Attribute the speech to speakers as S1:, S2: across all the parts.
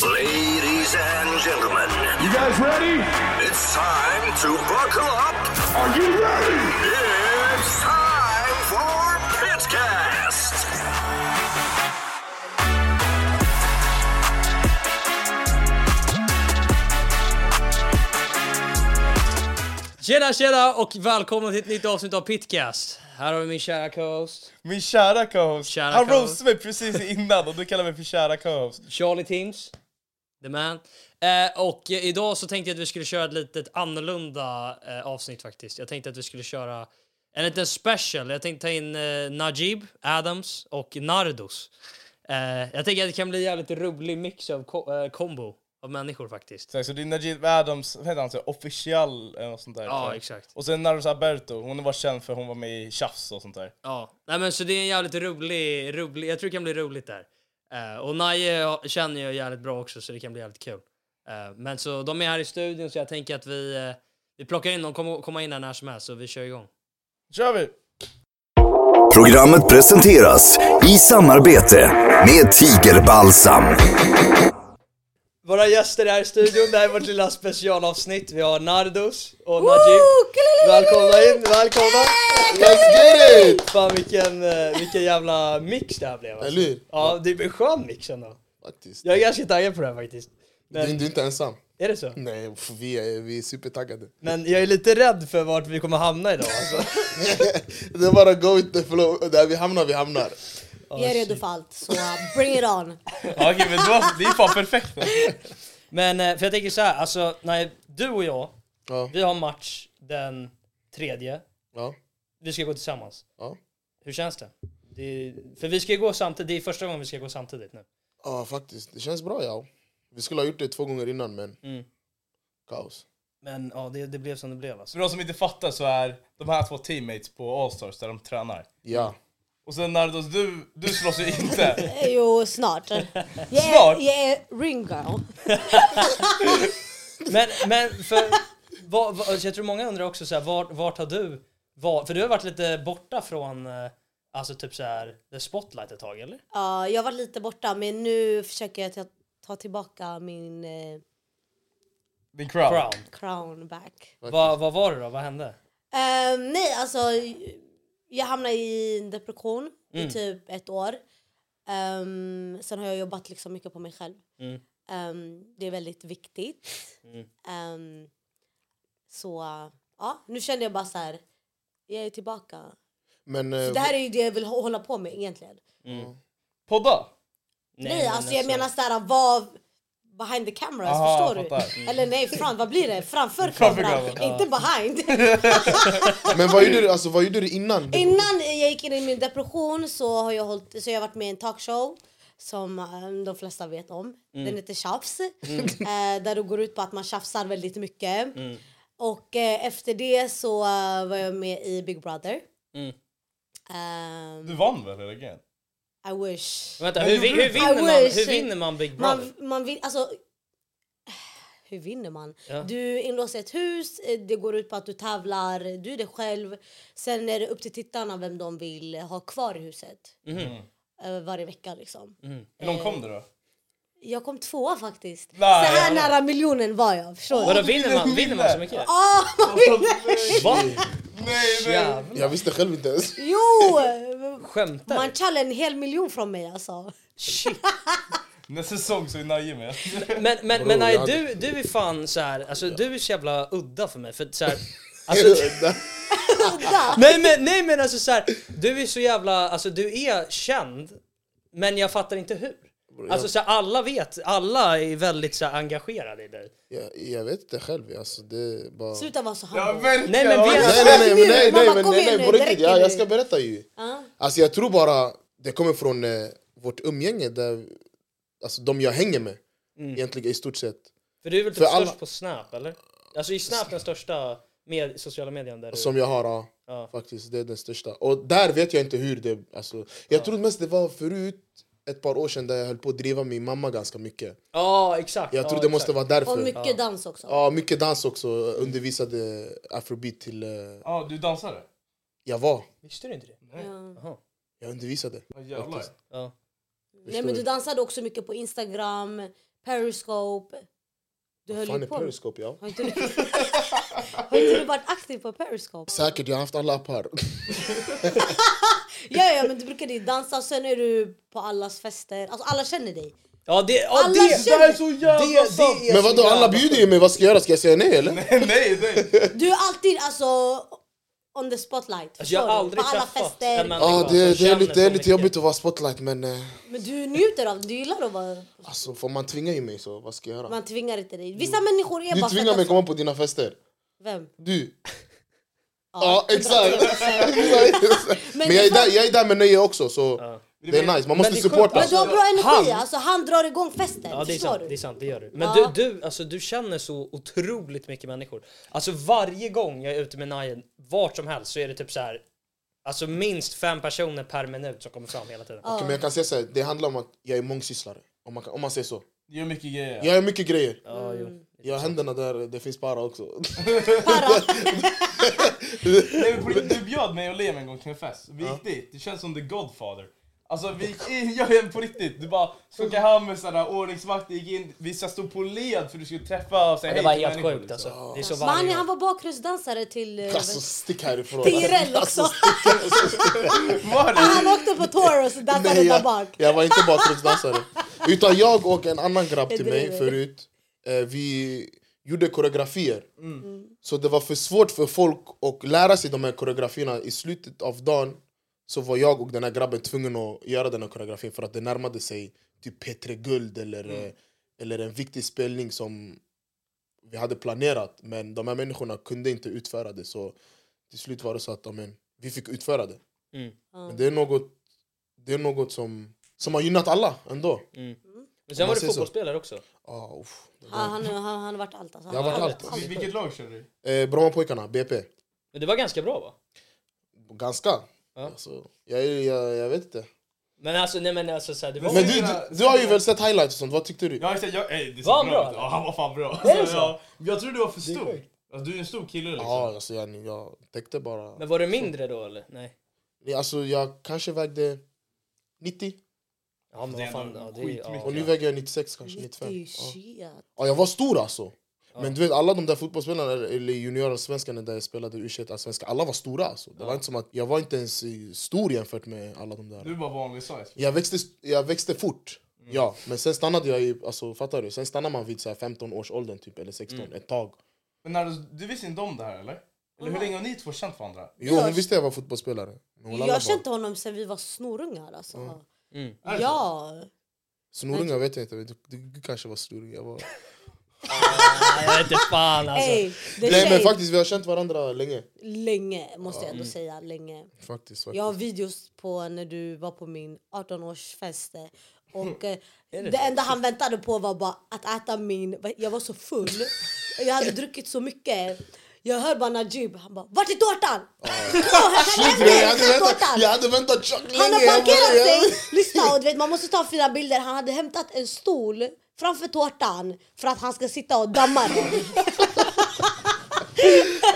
S1: Ladies and gentlemen,
S2: You guys ready?
S1: it's time to buckle up.
S2: Are you ready?
S1: It's time for Pitcast.
S3: Tjena tjena och välkomna till ett nytt avsnitt av Pitcast. Här har vi min kära co-host
S4: Min kära co-host,
S3: Kära
S4: han
S3: co-host.
S4: roastade mig precis innan och du kallar mig för kära co-host
S3: Charlie Teams, the man. Eh, och eh, idag så tänkte jag att vi skulle köra ett litet annorlunda eh, avsnitt faktiskt. Jag tänkte att vi skulle köra en liten special. Jag tänkte ta in eh, Najib, Adams och Nardos. Eh, jag tänker att det kan bli en jävligt rolig mix av ko- eh, kombo av människor faktiskt.
S4: Så det är Najib Adams, vad heter han? så här, Official eller något sånt där
S3: Ja, exakt.
S4: Och sen Naros Alberto, hon var känd för hon var med i Tjafs och sånt där
S3: Ja, nej men så det är en jävligt rolig, rolig jag tror det kan bli roligt där. Eh, och Naje känner jag jävligt bra också så det kan bli jävligt kul. Eh, men så de är här i studion så jag tänker att vi, eh, vi plockar in dem, kommer komma in här när som helst så vi kör igång.
S4: kör vi!
S1: Programmet presenteras i samarbete med Tigerbalsam.
S3: Våra gäster är här i studion, det här är vårt lilla specialavsnitt. Vi har Nardos och Najib. Välkomna in, välkomna!
S5: Let's get it!
S3: Fan vilken, eh, vilken jävla mix det här blev alltså.
S5: Eller hur?
S3: Ja, det är en skön mix ändå.
S5: Faktiskt.
S3: Jag är ganska taggad på det här faktiskt.
S5: Du,
S3: Men,
S5: du är inte ensam.
S3: är det så?
S5: Nej, pff, vi är, vi är supertaggade.
S3: Men jag är lite rädd för vart vi kommer hamna idag alltså.
S5: det är bara go with the flow. Där vi hamnar, vi hamnar.
S6: Vi är redo för allt, så uh, bring it on!
S4: Ja, Okej men det, var, det är fan perfekt!
S3: Men eh, för jag tänker så här, alltså när du och jag,
S5: Ja,
S3: vi har match den tredje,
S5: ja,
S3: vi ska gå tillsammans.
S5: ja.
S3: Hur känns det? det är, för vi ska ju gå samtidigt, det är första gången vi ska gå samtidigt nu.
S5: ja faktiskt. Det känns bra, ja. Vi skulle ha gjort det två gånger innan, men
S3: Mm.
S5: kaos.
S3: Men ja, det, det blev som det blev alltså.
S4: För de som inte fattar så är de här två teammates på Allstars där de tränar
S5: Ja.
S4: Och sen Nardos, du, du slåss ju inte!
S6: Eh, Jo, snart. Jag är,
S4: Snart?
S6: Jag är ring girl.
S3: Men, men för, vad, vad, alltså, jag tror många undrar också så här, vart, vart har du, var, för du har varit lite borta från, eh, alltså typ så här, the spotlight ett tag eller?
S6: Ja, Uh, jag var lite borta, men nu försöker jag ta, ta tillbaka min eh,
S4: Din crowd!
S3: Crown.
S6: crown back.
S3: Vad, vad var det då, vad hände?
S6: Eh, nej, alltså... Jag hamnade i en depression i typ ett år. Ehm, sen har jag jobbat liksom mycket på mig själv.
S3: Mm.
S6: Ehm, det är väldigt viktigt. Ehm, så ja, nu kände jag bara så här... Jag är tillbaka.
S5: Men eh,
S6: Så det här är ju det jag vill hå- hålla på med egentligen.
S4: Podda!
S6: Nej, alltså jag menar såhär vad behind the cameras,
S4: Aha,
S6: förstår du?
S4: fattar.
S6: Eller nej, fram, vad blir det? Framför
S4: Framför
S6: kameran,
S4: kameran,
S6: inte behind.
S5: men vad gjorde du, alltså, vad gjorde du innan?
S6: Innan jag gick in i min depression så har jag, hållit, så jag har varit med i en talkshow som eh, de flesta vet om. Den heter Tjafs. Eh, där det går ut på att man tjafsar väldigt mycket. Och eh, efter det så eh, var jag med i Big Brother.
S3: Mm.
S6: Ehm,
S4: Du vann väl eller grejen?
S6: I wish.
S3: Vänta, hur, vi- hur, vinner
S6: I
S3: man, hur
S6: wish.
S3: vinner man Big Brother?
S6: Man, man vin, alltså, hur vinner man?
S3: Ja.
S6: Du inlåser ett hus, eh, det går ut på att du tävlar, du är dig själv. Sen är det upp till tittarna vem de vill ha kvar i huset.
S5: Mhm.
S6: Eh, Varje vecka liksom.
S4: Hur långt kom du då?
S6: Jag kom tvåa faktiskt.
S4: Nej,
S6: så här
S4: ja.
S6: nära miljonen var jag. Förstår du? Ah,
S3: Vadå vinner man, vinner man så mycket? Va? Jävlar.
S5: Jag visste själv inte ens.
S6: Jo!
S3: Skämtar
S6: Man
S3: du?
S6: tjallade en hel miljon från mig alltså.
S3: Shit.
S4: Nästa säsong så är Naji med.
S3: Men, men, men
S5: Bro,
S3: nej,
S5: jag hade-
S3: du, du är fan så här, alltså du är så jävla udda för mig för så här,
S5: Är
S3: alltså,
S5: det- där-
S3: nej, men, nej men alltså så här, du är så jävla, alltså du är känd men jag fattar inte hur. Alltså så här, alla vet, alla är väldigt så här, engagerade i dig.
S5: jag, jag vet inte själv. Alltså, det är bara...
S6: Sluta vara så
S4: Ja,
S6: humble.
S4: verkligen.
S3: Nej, men vi-
S5: Nej, nej, nej, men nej,
S6: Mamma,
S5: nej, men
S6: kom
S5: nej,
S6: igen
S5: nej,
S6: nu,
S5: på
S6: det
S5: riktigt.
S6: räcker
S5: Ja,
S6: nu.
S5: jag ska berätta ju.
S6: Ja.
S5: Alltså jag tror bara det kommer från eh, vårt umgänge, där, alltså de jag hänger med.
S3: Mm.
S5: Egentligen i stort sett.
S3: För du är väl typ
S5: För
S3: störst
S5: alla-
S3: på Snap eller? Alltså är Snap den största med, sociala medien där du...
S5: Som jag har, ja,
S3: Ja.
S5: faktiskt. Det är den största. Och där vet jag inte hur det... Alltså, jag tror mest det var förut, ett par år sedan, där jag höll på att driva min mamma ganska mycket.
S3: Ja exakt.
S5: Jag tror
S3: ja,
S5: det måste
S3: exakt.
S5: vara
S6: Och
S5: därför.
S6: mycket dans också.
S5: Ja, mycket dans också. Jag undervisade afrobeat till... eh,
S4: Ja, du dansade?
S5: jag var.
S3: Visste du inte det?
S6: Ja.
S5: Jag undervisade.
S4: Vad jävlar.
S5: Faktiskt.
S3: Ja.
S6: Nej, men du dansade också mycket på Instagram, Periscope. Du höll
S5: Fan
S6: ju
S5: är
S6: på. med-
S5: Periscope ja.
S6: Har inte du, har inte du varit aktiv på Periscope?
S5: Säkert, jag har haft alla appar.
S6: Ja, ja, men du brukade ju dansa och sen är du på allas fester. Alltså alla känner dig.
S3: Ja, det, ja, det,
S6: Alla
S4: Det är så
S3: det,
S4: jävla sant!
S3: det är
S5: Men
S3: så
S5: vadå,
S3: jävla-
S5: alla bjuder ju mig, vad ska jag göra? Ska jag säga nej eller?
S4: nej, nej!
S6: Du är alltid alltså on the spotlight.
S3: Alltså, jag har
S6: förstår
S3: aldrig
S6: du? på alla
S3: träffat
S6: fester.
S3: en människa
S5: Ja,
S3: som
S5: Ah, det, det, är
S3: känner så
S5: lite, det är lite
S3: mycket.
S5: jobbigt att vara spotlight men eh,
S6: Men du njuter av det. Du gillar att vara...
S5: alltså, får man tvingar ju mig så vad ska jag göra?
S6: Man tvingar inte dig. Vissa människor är
S5: Du
S6: bara... för
S5: tvingar
S6: att-
S5: mig komma på dina fester.
S6: Vem?
S5: Du.
S6: Ja,
S5: Ja, exakt. Men jag är, där, jag är där med nöje också så det är nice, man måste
S3: det är
S5: supporta.
S6: Men du har bra energi.
S3: Han-
S6: Alltså, han drar igång festen.
S3: Ja, det är
S6: förstår
S3: sant,
S6: du?
S3: det är sant, det gör du. Men
S6: Ja.
S3: du, du, alltså, du känner så otroligt mycket människor. Alltså varje gång jag är ute med Najen, vart som helst, så är det typ så här. Alltså minst fem personer per minut som kommer fram hela tiden.
S5: Okej, men jag kan säga så här, det handlar om att jag är mångsysslare. Om man, kan, om man säger så.
S4: Gör mycket grejer.
S5: Jag gör mycket grejer.
S3: Ja, jo.
S5: Jag har händerna där det finns para också.
S4: Nej, men på riktigt, du bjöd mig och Liam en gång till en fest. Vi gick dit, det känns som the godfather. Alltså vi gick in, jag är på riktigt. Du bara skakade hand med sådana ordningsvakter, gick in, vissa stod på led för du skulle träffa och säga
S3: Det
S4: hej
S3: var
S4: till
S3: helt
S4: människor,
S3: sjukt
S4: liksom.
S3: alltså. Det är så
S6: Men han,
S3: varje
S6: han
S3: gång.
S6: var bakgrundsdansare till... eh,
S5: Alltså stick härifrån. Alltså,
S6: TRL också.
S3: alltså.
S4: Var det?
S6: Ah, Han åkte på tour och så dansade
S5: Nej,
S6: där
S5: jag,
S6: bak.
S5: jag var inte bakgrundsdansare. Utan jag och en annan grabb till
S6: driver.
S5: mig förut, eh, vi gjorde koreografier.
S6: Mm.
S5: Så det var för svårt för folk att lära sig de här koreografierna. I slutet av dagen så var jag och den här grabben tvungna att göra den här koreografin för att det närmade sig typ P3 Guld eller,
S6: Mm.
S5: eh, eller en viktig spelning som vi hade planerat. Men de här människorna kunde inte utföra det. Så till slut var det så att amen, vi fick utföra det.
S6: Mm.
S5: Men det är något, det är något som, som har gynnat alla ändå.
S3: Men sen
S5: om
S3: var du
S5: man säger så.
S3: fotbollsspelare också.
S5: Ah, uff, det var-
S6: Ja, han, han, han har varit allt. Alltså.
S5: Jag har varit allt.
S4: Vil- Vilket lag körde du?
S5: Eh, Brommapojkarna, BP.
S3: Men det var ganska bra va?
S5: Ganska.
S3: Ja.
S5: Alltså, jag, är- jag, jag vet inte.
S3: Men alltså, nej men alltså så här, det var...
S5: Men du, du, du har ju väl sett highlights och sånt, vad tyckte du?
S4: Ja exakt, jag, ey, det
S3: Var
S4: såg
S3: han bra,
S4: bra ut.
S3: eller?
S4: Ja han var fan bra.
S3: Är det
S4: Alltså,
S3: så?
S4: jag, jag tror du var för stor.
S3: sjukt.
S4: Alltså, du är en stor kille liksom.
S5: Ja, alltså, jag, jag täckte bara...
S3: Men var du mindre då eller? Nej.
S5: Nej, Alltså, jag kanske vägde 90,
S3: Ja men
S4: Det
S3: vad
S4: är
S3: fan,
S4: ändå
S3: ja, det är, ja.
S4: skitmycket.
S5: och nu väger jag 96 kanske, 95.
S6: Shit.
S5: Ja. Ja, jag var stor alltså. Men du vet alla de där fotbollsspelarna, eller juniorsvenskarna där jag spelade u svenska alla var stora alltså. Det var inte som att, jag var inte ens eh, stor jämfört med alla de där.
S4: Du är bara vanlig size.
S5: Jag växte, jag växte fort, ja. Men sen stannade jag i, alltså fattar du? Sen stannar man vid så här 15 års åldern typ, eller 16, ett tag.
S4: Men när du, du visste inte om det här eller? Eller hur länge har ni två känt varandra?
S5: Jo,
S6: Jag-
S5: hon visste jag var fotbollsspelare. Men hon Mm.
S6: Jag
S5: lallade
S6: har
S5: bara.
S6: känt honom sen vi var snorungar. Alltså.
S4: Är det så?
S6: Ja.
S5: Snorungar vet jag inte, men du, du, du kanske var snorunga. Jag var...
S3: Nej, jag vet inte fan alltså.
S6: Ey, det
S5: Nej men
S6: tjej-
S5: faktiskt, vi har känt varandra länge.
S6: Länge, måste jag ändå säga. Länge.
S5: Mm. Faktiskt, faktiskt.
S6: Jag har videos på när du var på min 18-årsfest. eh, Och eh, det enda han väntade på var bara att äta min... Jag var så full. Jag hade druckit så mycket. Jag hör bara Najib. Han bara “Vart är tårtan?”
S5: Shit, bro, jag, hade väntat,
S6: Tårtan!
S5: jag hade väntat tjock länge!
S6: Han har
S5: jag bara,
S6: parkerat
S5: jag-
S6: sig! Lyssna, och du vet, man måste ta fina bilder. Han hade hämtat en stol framför tårtan för att han ska sitta och damma den.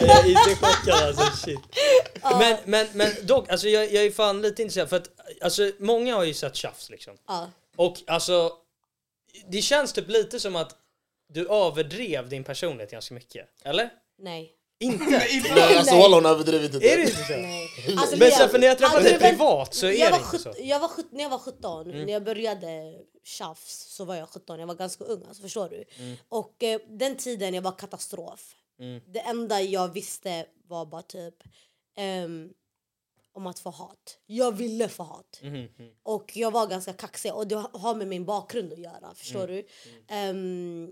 S3: Jag är inte chockad alltså, shit. Men, men, men dock, alltså, jag, jag är fan lite intresserad för att alltså, många har ju sett tjafs liksom.
S6: Ja.
S3: Och alltså, det känns typ lite som att du överdrev din personlighet ganska mycket. Eller?
S6: Nej.
S3: Inte?
S5: Nej, alltså
S6: Nej.
S5: walla hon överdrev inte.
S3: är det inte så?
S6: Nej. Alltså,
S3: Men
S6: Liam,
S3: sen för när jag träffade
S6: hade
S3: dig
S6: du väl-
S3: privat så är
S6: jag
S3: det
S6: var
S3: inte så. Mm.
S6: sjut- Jag var sjut- när jag var 17, när jag började tjafs så var jag 17. Jag var ganska ung, alltså, förstår du?
S3: Mm.
S6: Och eh, den tiden jag var katastrof. Det enda jag visste var bara typ ehm, om att få hat. Jag ville få hat.
S3: Mm,
S6: Och jag var ganska kaxig och det har med min bakgrund att göra, förstår
S3: Mm.
S6: du? Ehm,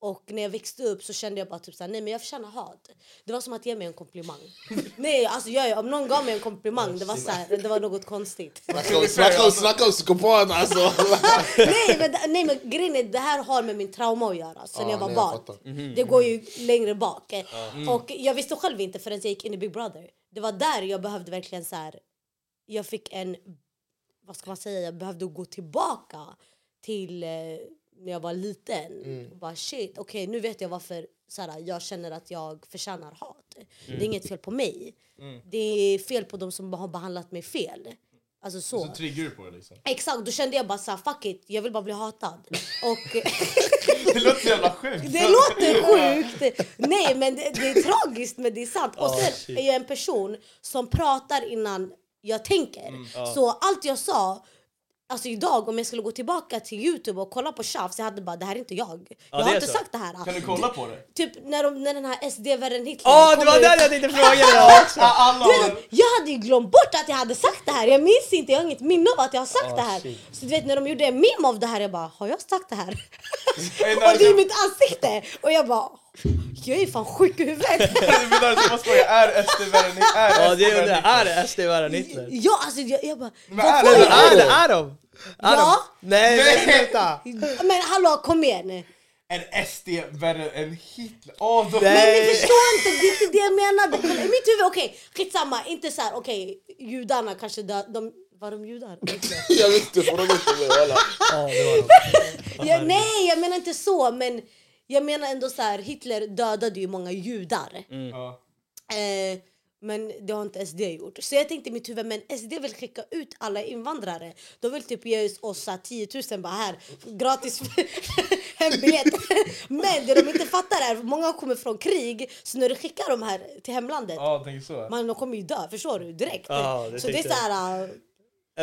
S6: och när jag växte upp så kände jag bara typ såhär, nej men jag förtjänar hat. Det var som att ge mig en komplimang. nej alltså jag, om någon gav mig en komplimang det var
S5: Alltså,
S6: såhär, det var något konstigt.
S5: Snacka om- Snacka om- snacka om psykopat alltså!
S6: nej, men, nej men grejen är, det här har med min trauma att göra sen
S5: Ah,
S6: jag var
S5: nej, jag
S6: barn.
S5: fattar.
S6: det går ju längre bak. Och jag visste själv inte förrän jag gick in i Big Brother. Det var där jag behövde verkligen så här. jag fick en, vad ska man säga, jag behövde gå tillbaka till eh, när jag var liten. Och bara shit, okej nu vet jag varför så här, jag känner att jag förtjänar hat. Det är inget fel på mig. Det är fel på de som har behandlat mig fel. Alltså, Alltså så.
S4: Så triggar du på det liksom.
S6: Exakt, då kände jag bara så här, fuck it, jag vill bara bli hatad. Och
S4: Det låter så jävla sjukt.
S6: det låter sjukt! Nej men det, det är tragiskt men det är sant. Och sen är jag en person som pratar innan jag tänker.
S3: Mm,
S6: Så allt jag sa, alltså idag om jag skulle gå tillbaka till youtube och kolla på tjafs, jag hade bara det här är inte jag. Jag
S3: det
S6: har
S3: är
S6: inte
S3: så.
S6: sagt det här.
S4: Kan du kolla på det?
S6: Typ när, de, när den här SD-värren Hitler
S3: Åh,
S6: kom
S3: det var
S6: ut.
S3: den jag tänkte fråga dig också!
S4: Ah, Alla
S6: Du vet,
S4: har...
S6: att jag hade ju glömt bort att jag hade sagt det här. Jag minns inte, jag har inget minne av att jag har sagt
S3: Ah,
S6: det här.
S3: shit.
S6: Så du vet när de gjorde en meme av det här, jag bara har jag sagt det här?
S4: Nej, nej,
S6: och det är
S4: nej.
S6: mitt ansikte! Och jag bara jag är fan sjuk i huvudet.
S4: Du menar att jag måste fråga, är SD värre än
S3: Ja,
S4: är SD
S3: det
S4: värre
S3: undrar
S4: än
S3: jag. Är det SD värre än Hitler?
S6: ja alltså jag, jag bara
S4: Men
S6: vad
S4: är
S6: får
S4: det-
S6: jag?
S3: Är det? Är de? Är de?
S6: Ja.
S3: Nej,
S4: Nej.
S3: men sluta!
S6: Men hallå kom igen.
S4: Är SD värre än Hitler? Åh, då...
S6: Men
S3: Nej.
S6: ni förstår inte, det är inte det jag menade. Men I mitt huvud, okej skitsamma, inte så här, okej judarna kanske dö, de, var de judar?
S5: Jag vet inte, fråga inte mig walla.
S3: Ja, det var de.
S6: Jag, nej, jag menar inte så, men jag menar ändå så här, Hitler dödade ju många judar.
S4: Ja.
S6: Eh, men det har inte SD gjort. Så jag tänkte i mitt huvud, men SD vill skicka ut alla invandrare. De vill typ ge oss så här 10 000 bara här, gratis hembiljett. men det de inte fattar är, många kommer från krig, så när du skickar dem här till hemlandet,
S4: Ja, tänker så.
S6: man, de kommer ju dö, förstår du? Direkt.
S3: Ja, det
S6: så det är
S3: tänkte jag.
S6: så här... eh,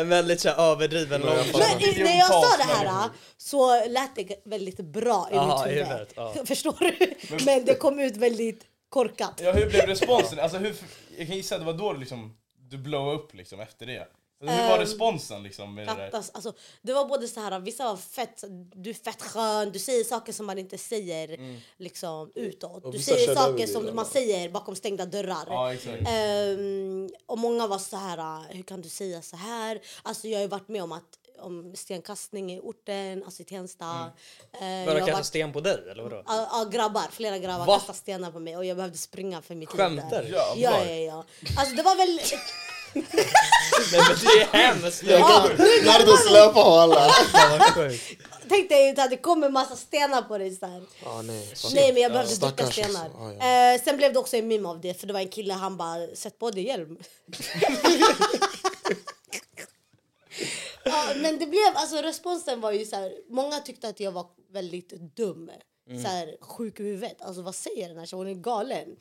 S3: En väldigt så här, överdriven
S5: jag
S3: lång...
S5: fattar.
S6: men i- när jag sa det här
S4: Miljontals
S6: så lät det väldigt bra i
S3: Ja,
S6: mitt
S3: i
S6: huvud.
S3: huvudet, ja.
S6: Förstår du? Men det kom ut väldigt korkat.
S4: Ja, hur blev responsen? Alltså, hur... Jag kan gissa att det var då du liksom, du blow upp liksom efter det. Alltså, hur var
S6: Ehm,
S4: responsen liksom med det där?
S6: Kattas, alltså, det var både så här, vissa var fett, du är fett skön, du säger saker som man inte säger liksom, utåt. Du
S5: vissa
S6: säger
S5: körde över
S6: saker
S5: det,
S6: som
S5: eller?
S6: man säger bakom stängda dörrar.
S4: Ja, exakt.
S6: Ehm, och många var så här, hur kan du säga så här? Alltså jag har ju varit med om att om stenkastning i orten, alltså i Tensta. Mm.
S3: Vadå, kasta sten på dig eller vadå?
S6: Ja, ja, grabbar, flera grabbar
S3: Va?
S6: kastade stenar på mig och jag behövde springa för mitt
S3: Skämtar du?
S6: liv.
S4: Ja,
S6: där. Ja,
S4: bra.
S6: ja, ja. Alltså det var väl...
S3: Nej men det är hemskt!
S5: Jag
S6: Ja,
S5: kan Nardo släpa walla.
S3: Fan vad sjukt!
S6: Tänk dig att det kommer massa stenar på dig så här.
S5: Ah, nej.
S6: Nej men jag behövde ducka
S5: Stackars
S6: stenar.
S5: alltså. Ja,
S6: Eh, sen blev det också en meme av det för det var en kille han bara sätt på dig hjälm. ja, men det blev alltså responsen var ju så här. Många tyckte att jag var väldigt dum. Så här, sjuk i huvudet. Alltså vad säger den här tjejen? Hon är galen.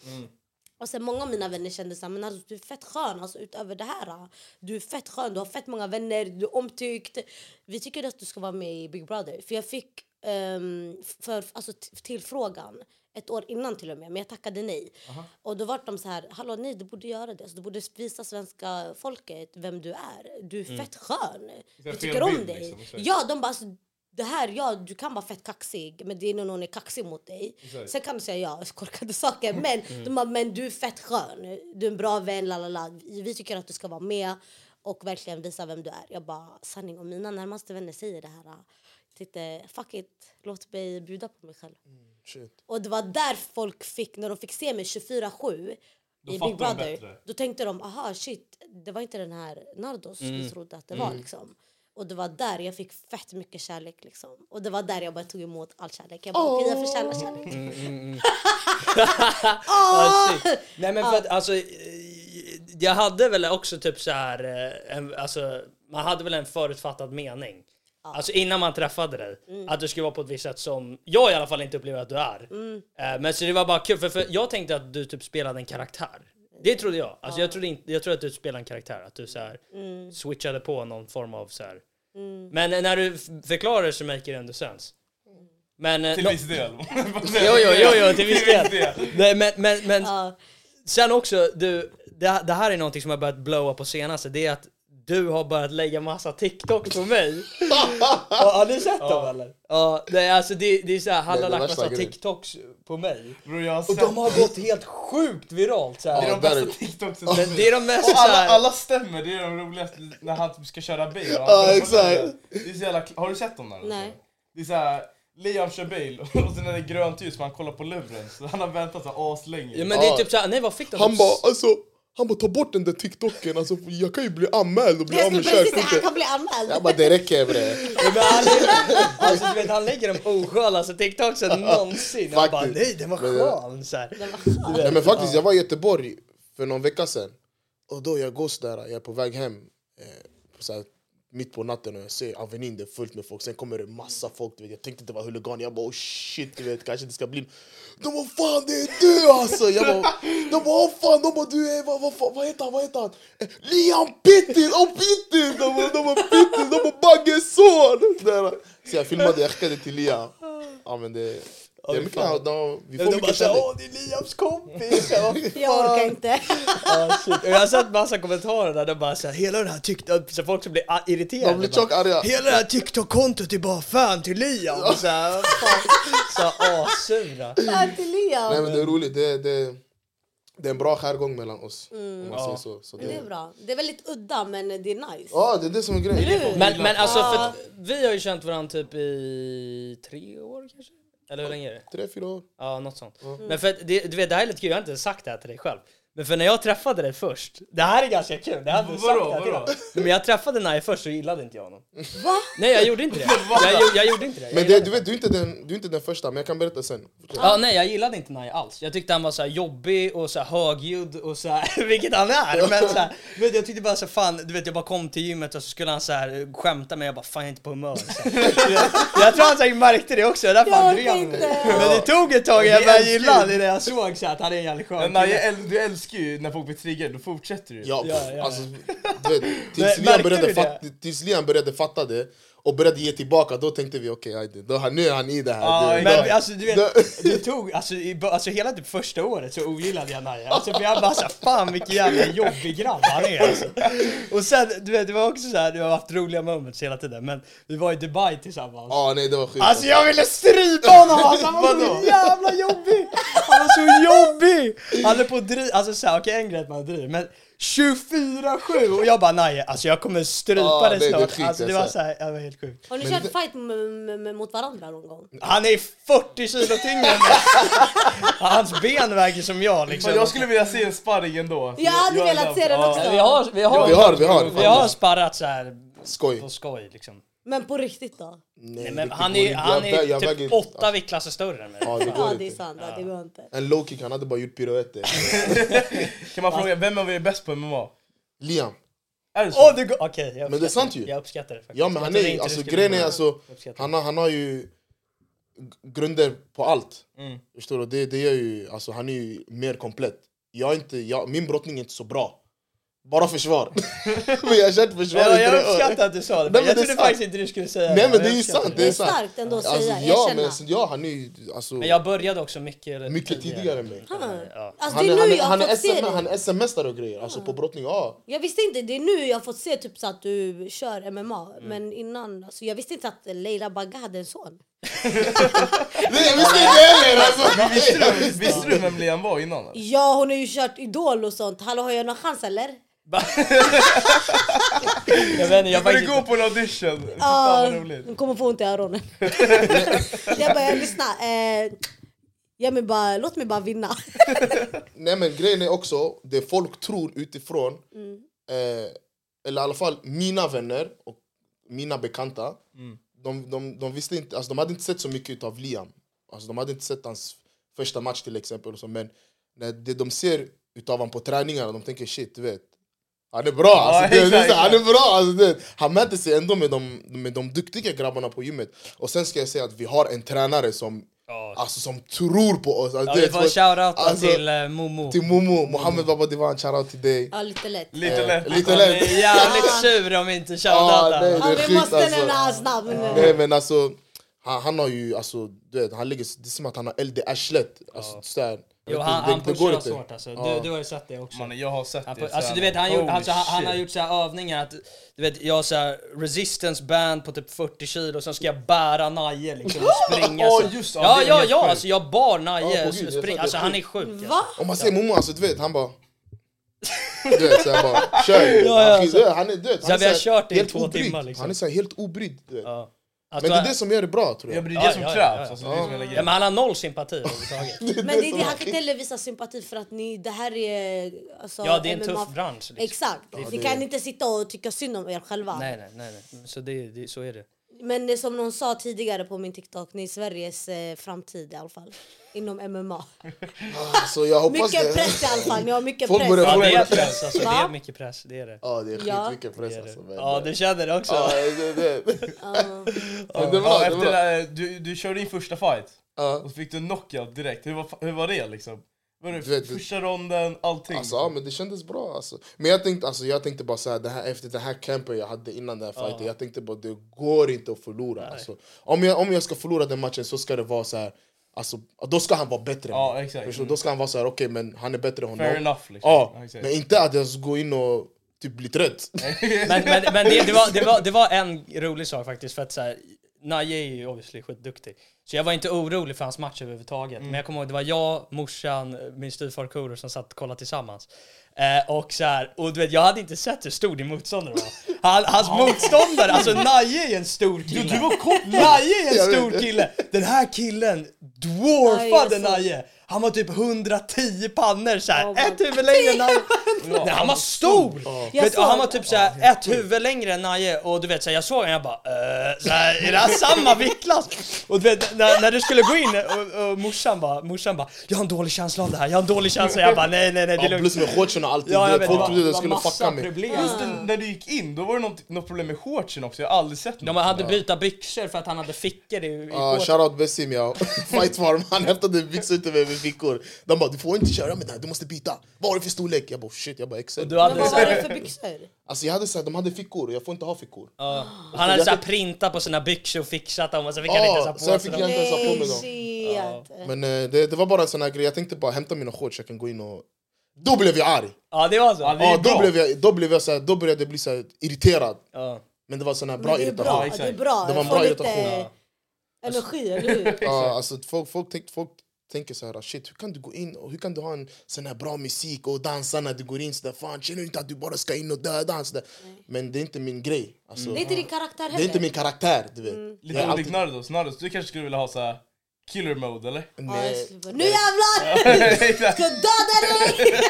S6: Och sen många av mina vänner kände såhär, men alltså, du är fett skön alltså, utöver det här. ah. Du är fett skön, du har fett många vänner, du är omtyckt. Vi tycker att du ska vara med i Big Brother. För jag fick ehm, för, alltså, t- tillfrågan ett år innan till och med, men jag tackade nej. Och då var de så här, hallå nej du borde göra det. Alltså, du borde visa svenska folket vem du är. Du
S4: Mm.
S6: är fett skön. Vi
S4: fel
S6: tycker om
S4: bild,
S6: dig.
S4: liksom, exakt.
S6: ja, de bara, alltså, det här, ja du kan vara fett kaxig men det är när någon är kaxig mot dig.
S4: Exakt.
S6: Sen kan du säga ja, korkade saker. Men de bara, men du är fett skön. Du är en bra vän, la la la. Vi tycker att du ska vara med och verkligen visa vem du är. Jag bara, sanning om mina närmaste vänner säger det här. Jag tänkte, fuck it, låt mig bjuda på mig själv.
S5: Shit.
S6: Och det var där folk fick, när de fick se mig 24-7
S4: Då
S6: i Big
S4: fattar de
S6: Brother,
S4: bättre.
S6: då tänkte de aha shit, det var inte den här Nardos
S5: Mm.
S6: vi trodde att det var liksom. Och det var där jag fick fett mycket kärlek liksom. Och det var där jag bara tog emot all kärlek. Jag bara okej jag förtjänar kärlek.
S3: Ah, shit. Nej men för att alltså, eh, jag hade väl också typ så här, eh, en, alltså, man hade väl en förutfattad mening. Alltså innan man träffade dig, att du skulle vara på ett visst sätt som jag i alla fall inte upplever att du är. Eh, Men så det var bara kul, för, för jag tänkte att du typ spelade en karaktär. Det trodde jag. Alltså, jag, trodde inte, jag trodde att du spelade en karaktär, att du så här, switchade på någon form av så här. Men eh, när du f- förklarar det så make it ändå sense. Men, eh,
S4: Till
S3: nå-
S4: viss del.
S3: Jo, jo, jo, jo, till viss del. Nej, men, men, men
S6: Ja.
S3: sen också, du, det, det här är någonting som har börjat blowa på senaste, det är att du har börjat lägga massa TikTok på mig. Ja, har du sett dem eller? Ja, nej, alltså det, det är såhär, han
S5: Nej,
S3: har
S5: det
S3: lagt
S5: värsta
S3: massa
S5: grejen.
S3: TikToks på mig.
S4: Bror, jag har
S3: Och
S4: sett
S3: de har gått helt sjukt viralt så
S4: Det
S3: här.
S4: är de
S5: Ja, där är
S4: bästa
S5: det.
S4: TikToksen.
S3: Men det är de mest
S4: Och alla,
S3: såhär...
S4: alla stämmer, det är de roligaste när han typ ska köra bil.
S5: Ja, exakt.
S4: Det är så jävla, har du sett dem där?
S6: Nej.
S4: Det är såhär, Liam kör bil och sen är det grönt ljus men han kollar på luren så han har väntat så här aslänge.
S3: Ja, men det är typ såhär, nej vad fick de?
S5: Han
S3: Typ
S5: bara alltså, han bara ta bort den där tiktoken, alltså, jag kan ju bli anmäld och bli
S6: Jag
S5: av
S6: skulle
S5: med
S6: precis säga, han
S5: körkortet.
S6: kan bli anmäld.
S5: Jag bara det räcker bre.
S3: Ja, men han, alltså, du vet, han lägger de oskönaste TikToksen någonsin. Och jag bara
S5: Faktiskt.
S3: nej den var
S5: Men jag-
S3: skön så här.
S5: Nej, men faktiskt, jag var i Göteborg för någon vecka sedan. Och då jag går sådär, jag är på väg hem. Eh, på så här, mitt på natten och jag ser Avenyn, det är fullt med folk. Sen kommer det massa folk. Du vet. Jag tänkte det var huligan. Jag bara oh shit, du vet, kanske det ska bli... De bara fan det är du alltså! Jag bara, de bara oh fan, de bara du är... Vad, vad, fan- vad heter han? Vad heter han? Eh, Liam Pittis! Oh Pittis! De bara, de bara Pittis! De bara Bagges son! Där. Så jag filmade, jag skickade till Liam. Ja men det... Det är mycket, de, vi får
S7: De bara
S5: mycket
S7: såhär,
S5: kärlek.
S7: åh det är Liams kompis! Jag bara,
S6: Jag orkar inte.
S7: Ah, shit. Jag har sett massa kommentarer där de bara såhär, hela den här TikTok, så folk som blir a- irriterade.
S5: De blir
S7: bara,
S5: tjockt arga.
S7: Hela det här TikTok-kontot är bara fan till Liam! Ja. Såhär, assura.
S6: Fan till
S5: Nej
S6: Leon.
S5: men det är roligt, det, det, det är en bra skärgång mellan oss. Om man säger så. så det,
S6: Mm. Det är bra. Det är väldigt udda men det är nice.
S5: Ja, det är det som är grejen.
S6: Eller hur?
S3: Men, men alltså, för att vi har ju känt varandra typ i tre år kanske? Eller hur länge är det?
S5: Tre, fyra år.
S3: Ja, något sånt. Men för att det, du vet, det här är lite kul, jag har inte sagt det här till dig själv. Men för när jag träffade dig först, det här är ganska kul, det här har du sagt
S4: Vadå,
S3: det här till
S4: vadå?
S3: dig. Nej, Men jag träffade Naje först så gillade inte jag honom.
S6: Va?
S3: Nej jag gjorde inte det. Jag, jag, jag gjorde inte det. Jag
S5: Men det,
S3: gillade
S5: du vet, du är, inte den, du är inte den första, men jag kan berätta sen.
S3: Ja, nej jag gillade inte Naje alls. Jag tyckte han var så här jobbig och så här högljudd och så här, vilket han är. Men så här, du vet, jag tyckte bara så här, fan, du vet jag bara kom till gymmet och så skulle han så här skämta med jag bara fan jag är inte på humör. Så här. jag, jag tror han säkert märkte det också, det är därför
S6: Jag
S3: han
S6: orkar
S3: drev med
S6: inte.
S3: mig. Men det tog ett tag jag
S7: är
S3: började
S7: kul.
S3: gilla honom när jag såg så här, att han är en jävligt skön
S4: Nej,
S3: kille.
S4: jag äl- du älskar ju när folk blir triggade, då fortsätter du ju.
S5: Ja,
S3: Ja, ja,
S5: alltså, du vet, tills,
S3: Men
S5: Liam
S3: märkte
S5: började
S3: du
S5: fatta, tills Liam började fatta det och började ge tillbaka, då tänkte vi okej, okay, då har- nu är han i det här.
S7: Ja,
S5: det,
S7: men
S5: då,
S7: alltså du vet,
S5: det-
S7: det tog, alltså, i, bö- alltså hela typ första året så ogillade jag Naja. Alltså, för jag bara såhär, fan vilken jävla jobbig grabb han är alltså. Och sen, du vet, det var också såhär, du har haft roliga moments hela tiden, men vi var i Dubai tillsammans.
S5: ja, nej, det var sjukt.
S7: Alltså jag ville strypa honom! Alltså, han var så jävla jobbig! Han var så jobbig! Han är på dri... Alltså såhär, okej en grej att man driver, men 24-7 och jag bara nej, alltså jag kommer strypa
S5: Ja,
S7: dig
S5: det- det är
S7: snart.
S5: sjukt,
S7: Alltså det
S5: alltså.
S7: var såhär, jag var helt sjukt.
S6: Har ni kört fight m- m- mot varandra någon gång?
S7: Han är 40 kilo tyngre än mig. Hans ben väger som jag liksom.
S4: Men jag skulle vilja se en sparring ändå.
S6: Jag hade
S4: är
S6: velat
S4: down.
S6: se den
S4: Ja.
S6: också.
S3: Vi har, vi har,
S5: vi har, vi har.
S3: vi har sparrat så här
S5: Skoj.
S3: på skoj liksom.
S6: Men på riktigt då?
S3: Nej, men
S5: det
S3: han
S5: går
S3: är,
S5: inte.
S3: han
S5: Jag vä- jag
S3: är typ
S5: väger inte.
S3: åtta viktklasser större än mig.
S5: Ja, det
S6: Ja
S5: går
S6: det är
S5: inte.
S6: sant, ja. det går inte.
S5: En low kick, han hade bara gjort piruetter.
S4: Kan man fråga, vem av er är bäst på MMA?
S5: Liam.
S4: Är det så?
S7: Åh du går... Okej, jag
S5: Men det är
S7: uppskattar
S5: sant ju.
S7: Jag uppskattar det faktiskt.
S5: Ja men
S7: Jag
S5: han
S7: trodde
S5: är,
S7: inte
S5: alltså
S7: du skulle
S5: grejen är
S7: börja.
S5: alltså,
S7: uppskattar.
S5: han har, han har ju g- grunder på allt.
S7: Mm.
S5: Förstår du? Det, det gör ju, alltså, han är ju mer komplett. Jag är inte, jag, min brottning är inte så bra. Bara försvar. men jag har kört försvar
S7: Ja,
S5: i
S7: jag
S5: tre år.
S7: uppskattar att du sa det,
S5: men
S7: men jag
S5: det är
S7: trodde
S5: sant.
S7: faktiskt inte du skulle säga
S5: Nej men det
S7: jag
S5: är ju
S7: uppskattar
S5: sant,
S6: Det
S5: det
S6: är
S5: är
S6: starkt
S5: sant.
S6: ändå att
S5: Alltså,
S6: säga,
S5: ja,
S6: erkänna.
S5: men, alltså, ja, han är ju alltså,
S3: Men jag började också mycket,
S5: mycket tidigare än mig.
S6: Mm.
S3: Ja.
S6: Alltså
S5: Han
S6: det
S5: är,
S6: är
S5: han
S6: nu
S5: är,
S6: jag
S5: han
S6: har
S5: är,
S6: fått se
S5: SM,
S6: det.
S5: han är sms-are och grejer, alltså på brottning, ja.
S6: Jag visste inte, det är nu jag har fått se typ så att du kör MMA. Men innan, alltså, jag visste inte att Leila Bagga hade en son.
S5: Det visste inte heller alltså!
S4: Visste du, visste du vem Liam var innan? eller?
S6: Ja hon har ju kört Idol och sånt. Hallå har jag någon chans eller?
S3: Jag vet inte, jag typ-
S4: Jag
S3: faktiskt
S4: borde
S3: inte...
S4: gå på en audition! Fy
S6: Ja,
S4: Fan vad roligt.
S6: hon kommer få ont i öronen. jag bara, jag lyssnar. Eh, ja, men bara, låt mig bara vinna.
S5: Nej men grejen är också, det folk tror utifrån eh, eller i alla fall mina vänner och mina bekanta
S3: Mm.
S5: de, de, de visste inte, alltså, de hade inte sett så mycket av Liam. Alltså, de hade inte sett hans första match till exempel. Och så, men när det de ser utav honom på träningarna, de tänker shit, du vet. Han är bra! Alltså, det, det, är så- han är bra! Alltså, det, han mäter sig ändå med de, med de duktiga grabbarna på gymmet. Och sen ska jag säga att vi har en tränare som, alltså, som tror på oss. Alltså,
S3: Ja,
S5: du
S3: vi
S5: vet,
S3: får
S5: för-
S3: shoutout
S5: alltså,
S3: till eh, Momo.
S5: till Momo, Mohammed Baba Divan, shoutout till dig.
S6: Ja, lite lätt.
S4: Lite
S5: Eh,
S4: lätt.
S5: Lite
S3: Jag är
S5: lätt.
S3: jävligt sur om inte
S5: Ja, nej,
S3: shoutoutar.
S5: det
S6: Ja,
S5: är
S6: vi
S5: skit
S6: måste
S5: alltså.
S6: nämna hans namn.
S5: Nej men alltså, han, han har ju, alltså, du vet, han ligger, det är som att han har eld i arslet. Alltså, så här.
S3: Jo,
S5: Det-
S3: han,
S5: det-
S3: Oh. han
S5: det
S3: pushar
S5: går
S3: oss
S5: inte.
S3: hårt alltså. Du, du har ju sett det också.
S4: Mannen jag har sett
S3: Han,
S4: det.
S3: pu- alltså, du vet, han, gjort, alltså, han, han har gjort så här övningar att du vet, jag har så här resistance band på typ 40 kilo och sen ska jag bära Naje liksom och springa.
S4: Ja,
S3: så.
S4: just det.
S3: ja,
S4: Ja, det är
S3: ja,
S4: helt
S3: ja,
S4: sjukt.
S3: alltså jag bar
S5: Ja,
S3: Naje
S5: på
S3: och
S5: Gud, jag sa
S3: spring.
S5: det,
S3: Alltså
S5: det är
S3: han är sjuk. Alltså.
S6: Va?
S5: Om man ser Momo, alltså, du vet, han bara... Du vet, så jag bara, kör!
S3: ja, alltså.
S5: han, skiter- han är död.
S3: Så
S5: Han är
S3: vi har
S5: så här
S3: kört i
S5: helt
S3: två
S5: obrydd.
S3: timmar, liksom.
S5: Han är så här helt obrydd. Du vet.
S3: Ja. Alltså,
S5: Men det är det som gör det bra tror
S4: Ja,
S5: jag.
S4: men det
S3: Ja,
S4: är det som
S3: ja,
S4: krävs.
S3: ja, ja.
S4: Alltså, det är det som är
S3: ja,
S4: grejen.
S3: men han har noll sympati överhuvudtaget.
S6: Men det är det, han kan inte heller visa sympati för att ni, det här är... Alltså,
S3: Ja, det är en tuff
S6: MMA
S3: bransch. Liksom.
S6: Exakt. ni kan inte sitta och tycka synd om er själva.
S3: Nej, nej, nej, nej. Så, det, det, så Mm, är det.
S6: Men som någon sa tidigare på min TikTok, ni är Sveriges eh, framtid i alla fall. Inom MMA.
S5: Ah, Så jag hoppas
S6: Mycket
S5: det.
S6: press i alla fall, ni har mycket
S5: Folk
S6: press.
S5: börjar
S3: Ja,
S5: fråga-
S3: det är press alltså, det är
S6: Va?
S3: mycket press, det är det.
S5: Ja, det är
S6: Ja.
S5: skitmycket
S3: Det
S5: press
S3: är det.
S5: alltså. men-
S3: Ja, du känner det också?
S5: Ja, det, det.
S6: Ja.
S5: Men det var
S4: Ja,
S5: bra, det
S4: efter
S5: var bra.
S4: det, du, du körde din första fight
S5: Ja.
S4: och så fick du en knockout direkt. Hur var, hur var det liksom? Var det
S5: Du vet, du-
S4: första ronden, allting?
S5: Alltså, ja, men det kändes bra alltså. Men jag tänkte, alltså, jag tänkte bara så här, det här, efter den här campen jag hade innan den här fighten, jag tänkte bara det går inte att förlora. Alltså. Om, jag, om jag ska förlora den matchen så ska det vara så här, alltså, då ska han vara bättre. än
S4: Ja,
S5: mig.
S4: exakt.
S5: Förstår du? Då ska han vara så här, okej men han är bättre än honom.
S4: Fair enough liksom.
S5: Ja,
S4: exakt.
S5: men inte att jag ska gå in och typ bli trött.
S3: Men, men, men det, det, var, det, var, det var en rolig sak faktiskt, för att så här, Naje är ju obviously skitduktig. Så jag var inte orolig för hans match överhuvudtaget.
S4: Mm.
S3: Men jag kommer ihåg, det var jag, morsan, min styvfar Kuro som satt och kollade tillsammans. Eh, och så här, och du vet, jag hade inte sett hur stor din motståndare var. Han, hans motståndare, alltså Naje är en stor kille.
S4: Du var kort!
S3: Naje är en
S5: Jag vet
S3: stor
S5: det.
S3: kille! Den här killen
S6: Aj,
S3: dwarfade
S6: jag såg.
S3: Naje! Han var typ 110 pannor såhär,
S6: Oh my
S3: ett huvud längre än Naje. Nej, han var stor!
S6: Jag
S3: Vet, du,
S6: såg-
S3: han var typ såhär, ett huvud längre än Naje och du vet såhär, jag såg honom jag bara eh, såhär, är det här samma viktklass? Och du vet när, när du skulle gå in och, och morsan bara, morsan bara, jag har en dålig känsla av det här, jag har en dålig känsla. Jag bara nej nej nej det är
S5: Ja, plus
S3: lugnt.
S5: med shortsen och allting.
S3: Ja, jag vet,
S5: Folk
S3: det var-
S5: trodde
S3: det
S5: jag
S3: var
S5: skulle
S3: massa
S5: fucka mig.
S3: problem.
S4: Just det, när du gick in, då var det något, något problem med shortsen också. Jag har aldrig sett något.
S3: De hade byta byxor för att han hade fickor i, i
S5: Ja,
S3: kåtan.
S5: shoutout Besim ja. Fight farm, han hämtade byxor till mig med fickor. De bara du får inte köra med det här, du måste byta. Vad har du för storlek? Jag bara shit, jag bara XL.
S3: Du hade
S6: Men vad var det för byxor?
S5: Alltså jag hade sagt, de hade fickor, jag får inte ha fickor.
S3: Ja. Han hade såhär printat på sina byxor och fixat dem och så fick han inte ens
S5: Ja,
S3: ha på
S5: sen
S3: sig
S5: fick
S3: dem.
S5: jag inte ens ha på mig dem.
S6: Nej, shit.
S5: Men eh, det, det var bara en sån här grej, jag tänkte bara hämta mina shorts, jag kan gå in och... Då blev jag arg!
S3: Ja det var så.
S4: Ja, det är
S5: Ja, då,
S4: bra.
S5: blev jag, då, blev jag så här, då började jag bli så här, irriterad.
S3: Ja.
S5: Men det var sån här
S6: Men
S5: bra
S6: det är
S5: irritation.
S6: bra,
S4: irritation.
S6: det är bra.
S5: Det var
S6: Jag
S5: en
S6: får
S5: bra
S6: lite
S5: irritation.
S6: energi, eller hur?
S5: Ja, alltså, folk, folk, tänk, folk tänker så här, shit hur kan du gå in och hur kan du ha en sån här bra musik och dansa när du går in sådär? Fan känner du inte att du bara ska in och döda? han sådär? Men det är inte min grej. Alltså,
S6: Mm. Det är inte din karaktär heller. Mm.
S5: det är inte min karaktär, du vet. Jag är
S4: Lite olikt
S5: alltid-
S4: Nardos. Nardos, du kanske skulle vilja ha så här killer mode eller?
S6: Ja, jag
S5: Nej.
S6: skulle bara, Nu jävlar!
S4: Exakt.
S6: Ska döda dig!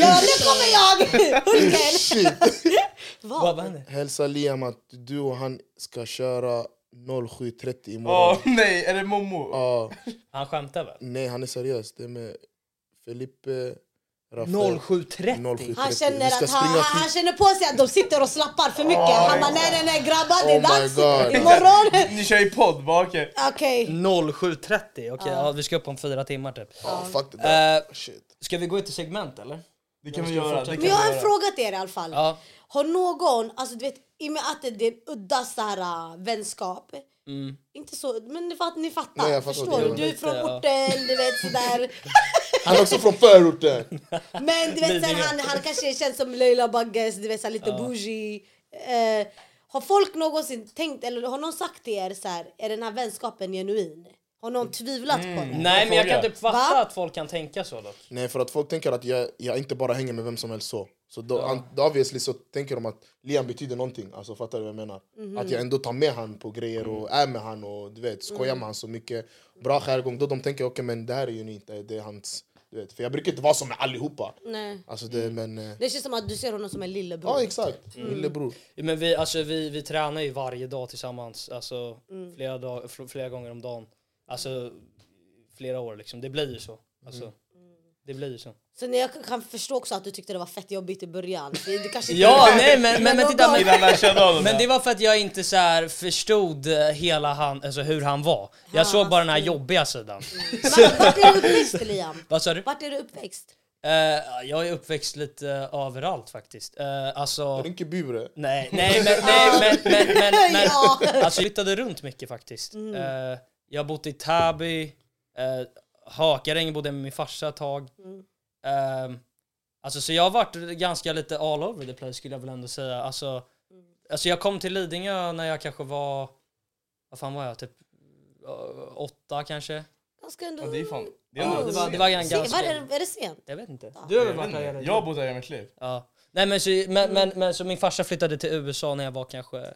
S6: ja, nu kommer jag! Hulken!
S5: Shit!
S3: Vad
S6: Vad?
S3: hände?
S5: Hälsa Liam att du och han ska köra 07.30
S4: Åh
S5: imorgon.
S4: nej, är det Momo?
S5: Ja,
S3: Han skämtade väl?
S5: nej, han är seriös. Det är med Felipe, Rafael...
S3: 07.30?
S5: 07.30.
S6: Han
S5: Vi
S6: känner
S5: ska
S6: att han, han,
S5: springa
S6: han
S5: till-
S6: känner på sig att de sitter och slappar för mycket. Han bara nej, nej, nej grabbar, det är
S5: Oh my
S6: dags
S5: God.
S6: imorgon.
S4: Ni kör ju podd, bara okej.
S6: Okej.
S3: 07.30? Okej, ja, vi ska upp om fyra timmar typ.
S5: Ja, fuck det där.
S3: Eh,
S5: Shit.
S3: Ska vi gå ut i segment eller?
S4: Det kan vi
S3: ska
S4: göra.
S3: fortsätta.
S4: Det kan
S6: Men jag har
S4: vi
S6: en
S4: göra.
S6: fråga till er i alla fall.
S3: Ja.
S6: Har någon, alltså du vet i och med att det är en udda så här, äh, vänskap. Inte så, men ni fattar. Ni fattar
S5: Mm. Nej, jag fattar
S6: förstår
S5: det.
S6: du? Du är från
S3: Ja.
S6: orten, du vet sådär.
S5: Han är också från förorten.
S6: Men du vet, sen,
S3: Lidingö.
S6: han, han kanske känns som Leila Bagges, du vet så här, lite bougie. Eh, har folk någonsin tänkt, eller har någon sagt till er så här, är den här vänskapen genuin? Har någon tvivlat på det?
S3: Mm. Nej men jag kan
S4: fråga.
S3: typ fatta
S6: Va?
S3: att folk kan tänka så dock.
S5: Nej, för att folk tänker att jag, jag inte bara hänger med vem som helst så. Så då, an- obviously så tänker de att Liam betyder någonting. Alltså fattar du vad jag menar? Att jag ändå tar med han på grejer och är med han och du vet, skojar med han så mycket. Bra skärgång. Då de tänker okej men det här är ju inte, det är hans... Du vet. För jag brukar inte vara som med allihopa.
S6: Nej.
S5: Alltså det, men... eh,
S6: Det känns som att du ser honom som en lillebror.
S5: Ja exakt, lillebror.
S3: Men vi, alltså, vi, vi tränar ju varje dag tillsammans, alltså
S6: Mm.
S3: flera, dag, fl- flera gånger om dagen. Alltså flera år liksom, det blir ju så. Alltså, Det blir ju så.
S6: Så när jag kan förstå också att du tyckte det var fett jobbigt i början. Du kanske inte-
S3: Ja, nej men, men, men
S6: någon
S3: titta.
S6: gång-
S3: Men,
S4: Innan han kände honom.
S3: Men det var för att jag inte så här förstod eh, hela han, alltså hur han var.
S6: Ah,
S3: Jag såg bara den här jobbiga sidan.
S6: Men Vart är du uppväxt Liam?
S3: Vad sa du?
S6: Vart är du uppväxt?
S3: Eh, jag är uppväxt lite eh, överallt faktiskt. Uh, alltså...
S5: Rinkeby bre.
S3: Nej, nej men, nej, men, men, men, men
S6: Ja.
S3: alltså, jag flyttade runt mycket faktiskt.
S6: Mm.
S3: Eh, jag har bott i Täby, eh, Hakaräng bodde jag med min farsa ett tag.
S6: Mm.
S3: Ehm, alltså, så jag har varit ganska lite all over the place skulle jag väl ändå säga. Alltså,
S6: Mm.
S3: alltså jag kom till Lidingö när jag kanske var, vad fan var jag, typ eh, åtta kanske?
S6: Ganska ändå...
S4: Ja, det är fan... Det är
S3: Ja,
S4: ändå
S3: det var, det var en
S6: Se, var
S3: ganska...
S6: är, är det sent?
S3: Jag vet inte.
S4: Jag vet inte. Jag har bott här i mitt liv.
S3: Ja. Nej, men, så,
S6: Mm.
S3: men, men, men så min farsa flyttade till USA när jag var kanske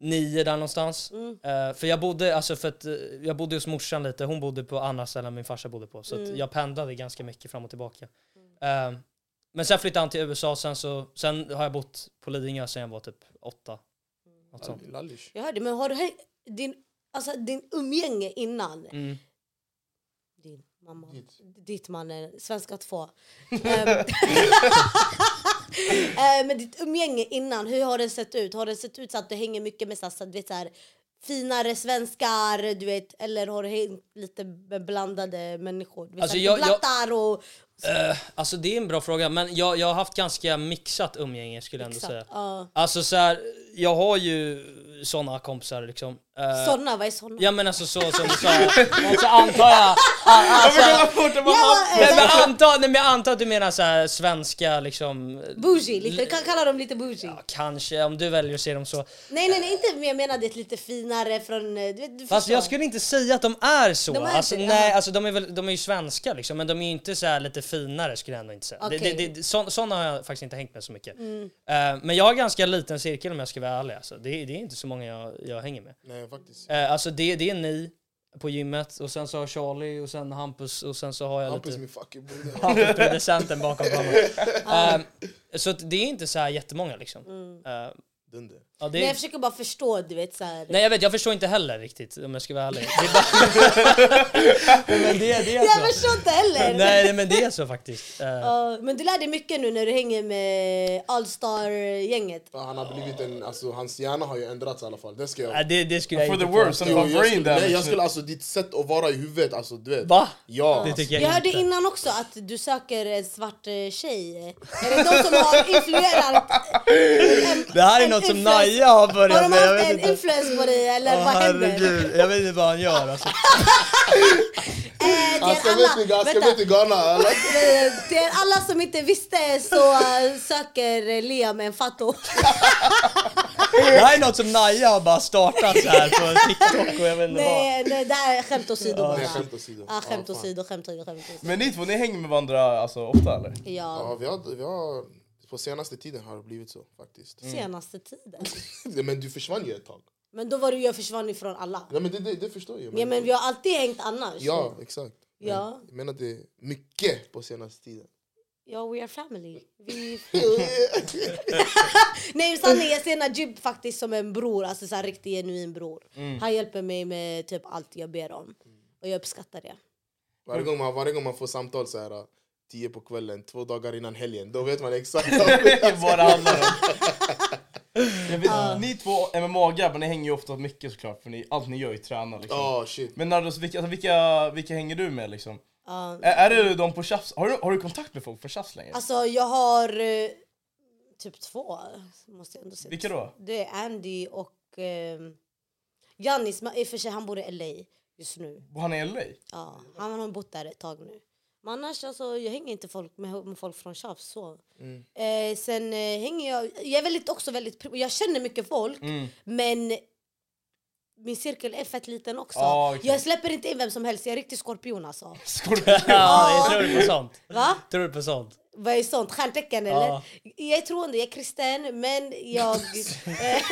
S3: nio där någonstans.
S6: Mm.
S3: Eh, för jag bodde, alltså för att, eh, jag bodde hos morsan lite, hon bodde på andra ställen än min farsa bodde på. Så
S6: Mm.
S3: att jag pendlade ganska mycket fram och tillbaka. Eh,
S6: Mm.
S3: men sen flyttade han till USA, sen, så, sen har jag bott på Lidingö sen jag var typ åtta.
S7: Något sånt.
S5: Lallish.
S6: Jag hörde, men har du hö- din, alltså, din umgänge innan?
S3: Mm.
S6: Din mamma.
S5: Ditt.
S6: Ditt man är svenska 2. Ehm. men ditt umgänge innan, hur har det sett ut? Har det sett ut så att du hänger mycket med så här, så, att du vet, så här, finare svenskar, du vet, eller har du hängt lite med blandade människor? Du vet,
S3: Alltså,
S6: så här,
S3: jag- jag-
S6: blattar och...
S3: Alltså det är en bra fråga, men jag, jag har haft ganska mixat umgänge skulle jag ändå
S6: Exakt,
S3: säga.
S6: ja.
S3: Alltså så här, jag har ju såna kompisar liksom. Eh,
S6: Såna, vad är såna?
S3: Ja men alltså så som du
S7: Alltså
S3: sa.
S7: antar jag...
S5: Alltså,
S4: Jag vill bort
S6: Ja,
S3: Nej
S6: eh,
S3: men anta, nej, men jag antar att du menar så här svenska liksom,
S6: bougie, lite, kan kalla dem lite bougie.
S3: ja, kanske om du väljer att se dem så.
S6: Nej, nej, nej, inte men jag menar det lite finare från... eh, Du vet, du
S3: Fast
S6: förstår.
S3: jag skulle inte säga att de är så.
S6: De är
S3: alltså,
S6: inte det,
S3: nej,
S6: aha.
S3: alltså, de, är väl, de är ju svenska liksom, men de är ju inte så här lite finare skulle jag ändå inte säga. Det,
S6: Okej. Mm.
S3: det, det, så, såna har jag faktiskt inte hängt med så mycket. Eh, men jag har ganska liten cirkel om jag ska vara ärlig. Alltså. Det, det är inte så många jag, jag hänger med.
S5: Nej, faktiskt.
S3: Eh, alltså det, det är ni på gymmet och sen så har Charlie och sen Hampus och sen så har jag
S5: Hampus
S3: lite...
S5: min fucking broder.
S3: Hampus producenten bakom kameran. Ehm, så att det är inte så här jättemånga liksom. Ehm,
S5: Dunder.
S3: ja, det
S6: Mm. Nej,
S3: är,
S6: jag försöker bara förstå, du vet så här.
S3: nej jag vet, jag förstår inte heller riktigt om jag ska vara ärlig. Det är bara,
S7: Men det, det är
S6: Jag
S7: så.
S6: förstår inte heller!
S3: nej nej, men det är så faktiskt. Ehm,
S6: Ja, men du lär dig mycket nu när du hänger med Allstar-gänget.
S5: Ja, Han har blivit en, alltså, hans hjärna har ju ändrats i alla fall. Det ska jag...
S3: nej, det, det skulle jag
S4: For the
S3: inte...
S4: worst, som
S5: Jo,
S4: var
S5: jag
S4: brain
S5: skulle, nej, jag
S4: damage.
S5: skulle alltså ditt sätt att vara i huvudet, alltså du vet.
S3: Va?
S5: Ja,
S3: Det
S5: alltså,
S3: tycker
S6: Jag
S3: jag
S6: hörde
S3: inte.
S6: innan också att du söker en svart eh, tjej. Är det de som har influerat? En,
S7: Det här är
S6: en
S7: något som
S6: influens-
S7: Naja har
S6: Har
S7: börjat
S6: de
S7: med. Jag vet
S6: haft en
S7: inte.
S6: influens på dig eller
S7: Åh,
S6: vad händer?
S7: herregud, jag vet inte vad han gör alltså.
S6: Eh,
S5: han
S6: till
S5: ska
S6: alla,
S5: med till- han ska
S6: vänta.
S5: med till Ghana. alla.
S6: Eh, Till alla som inte visste så eh, söker eh, Liam en fatto.
S7: Det här är något som Naja har bara startat så här på TikTok och jag vet inte vad.
S6: Nej, nej, det här är skämt åsido bara.
S5: Nej, skämt åsido.
S6: Ja, skämt
S5: Ja, fan.
S6: åsido, skämt åsido, skämt åsido.
S4: Men ni två, ni hänger med varandra alltså, ofta eller?
S6: Ja,
S5: Ja, vi har, vi har, på senaste tiden har det blivit så faktiskt.
S4: Mm.
S6: senaste tiden.
S5: Men du försvann ju ett tag.
S6: Men då var det jag försvann ifrån alla.
S5: Nej, men det, det, det förstår jag.
S6: Ja, men vi har alltid hängt annars.
S5: ja, exakt. Men
S6: Ja.
S5: Jag menar det är mycket på senaste tiden.
S6: Ja, we are family. Vi... Nej, sanningen, jag ser Najib faktiskt som en bror, alltså så här riktig genuin bror. Han hjälper mig med typ allt jag ber om. Och jag uppskattar det.
S5: Varje gång man, varje gång man får samtal så här, äh, tio på kvällen, två dagar innan helgen, då vet man exakt. vad-
S4: Vad det handlar om. Jag vet, Ni två MMA-grabbar, ni hänger ju ofta mycket såklart för ni, allt ni gör är ju träna liksom.
S5: Ja, shit.
S4: Men Nardos, vilka, alltså, vilka, vilka hänger du med liksom?
S6: Ja.
S4: Är, är det de på tjafs? Har du, har du kontakt med folk på tjafs längre?
S6: Alltså, jag har eh, typ två, måste jag ändå säga.
S4: Vilka då?
S6: Det är Andy och eh, Jannis. Men i och för sig, han bor i LA just nu.
S4: Bor han i LA?
S6: Ja, han har bott där ett tag nu. Men annars, alltså, jag hänger inte folk med, med folk från tjafs. Så.
S4: Mm.
S6: Eh, sen eh, hänger jag... Jag är väldigt, också väldigt... pri- Jag känner mycket folk,
S4: Mm.
S6: men min cirkel är fett liten också.
S4: Ja, okej.
S6: Jag släpper inte in vem som helst. Jag är riktig skorpion alltså.
S4: Skorpion?
S3: Ja, jag tror du på sånt?
S6: Va?
S3: Tror du på sånt?
S6: Vad är sånt? Stjärntecken eller?
S3: Ja.
S6: Jag är troende, jag är kristen, men jag... eh,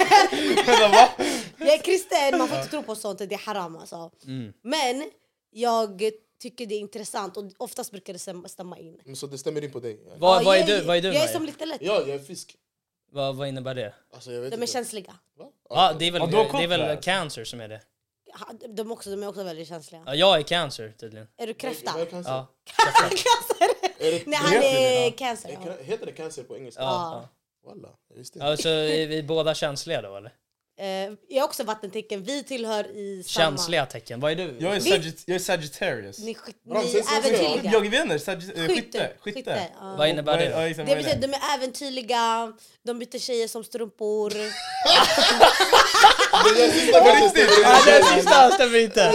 S6: jag är kristen, man får inte tro på sånt, det är haram alltså.
S4: Mm.
S6: Men jag tycker det är intressant och oftast brukar det stäm- stämma in.
S5: Men Så det stämmer in på dig? Ja,
S3: Vad,
S6: Ja,
S3: vad är
S6: jag,
S3: du? Vad är du
S6: Jag är
S3: Maja?
S6: som lite lätt.
S5: jag är fisk.
S3: vad, vad innebär det?
S5: Alltså, jag vet
S6: De är
S5: inte.
S6: känsliga.
S3: Ja, det är väl,
S4: Ja, du har koll
S3: det är
S4: på det
S3: väl
S4: här.
S3: cancer som är det.
S6: Ha- De, också, de är också väldigt känsliga.
S3: Ja, jag är cancer tydligen.
S6: Är du kräfta?
S5: Vad är cancer?
S3: Ja.
S5: Är det-
S6: Nej, han
S5: heter
S6: är
S5: det?
S6: cancer.
S5: Är
S6: Ja.
S5: ca- Heter det cancer på engelska?
S6: Ja.
S5: Walla, jag visste inte.
S3: Ja, så är vi båda känsliga då eller?
S6: Eh, Jag är också vattentecken, vi tillhör i samma...
S3: Känsliga tecken, vad är du?
S4: Jag är, sagitt- jag är Sagittarius.
S6: Ni, skit, ni
S5: Bra,
S6: är
S5: sen- sen- sen-
S6: äventyrliga.
S4: Jag vet inte, Sagit- eh, skytte. Skytte.
S6: skytte, ja.
S3: Vad innebär det?
S4: Ja,
S3: då?
S4: exakt,
S6: Det
S4: vad är
S6: betyder att de är äventyrliga, de byter tjejer som strumpor.
S4: På riktigt?
S7: Nej, det sista stämmer inte.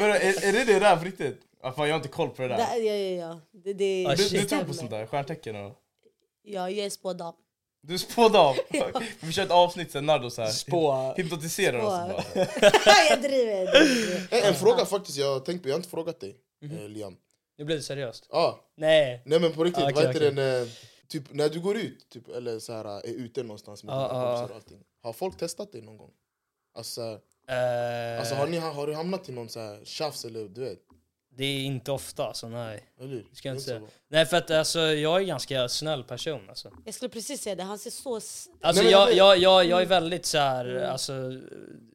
S4: Vadå, är, är det det där på riktigt? Ja, fan, jag har inte koll på det där.
S6: ja, ja, ja. Det, det,
S3: Ah,
S4: Du,
S3: shit.
S4: du
S6: det
S4: tror på
S6: stämmer.
S4: sånt där? Stjärntecken och...
S6: Ja, jag är spådam.
S4: Du spådde av? Vi kör ett avsnitt sen Nardo så här.
S7: Spå.
S4: Hypnotiserar
S6: Spå.
S4: oss. och bara.
S6: jag driver. jag driver.
S5: Eh, En fråga faktiskt, jag har tänkt på, jag har inte frågat dig,
S3: Mhm.
S5: eh, Liam.
S3: Nu blir det seriöst.
S5: Ja,
S3: Nej.
S5: nej men på riktigt,
S3: Ah, okej,
S5: vad heter
S3: okej.
S5: den? eh, Typ när du går ut, typ, eller så här, eh, är ute någonstans med
S3: Ja,
S5: dina
S3: ja, ja.
S5: kompisar och allting. Har folk testat dig någon gång? Alltså, så här,
S3: ah, Eh,
S5: alltså har, ni, har du hamnat i någon så här tjafs eller du vet?
S3: Det är inte ofta, så nej.
S5: Eller hur?
S3: Ska
S5: Det är
S3: jag inte
S5: inte så
S3: säga.
S5: bra.
S3: Nej, för att alltså, jag är en ganska snäll person alltså.
S6: Jag skulle precis säga det, han ser så... s-
S3: Alltså
S5: Nej, men
S3: jag,
S5: jag-
S3: jag, jag, jag är väldigt så här, alltså,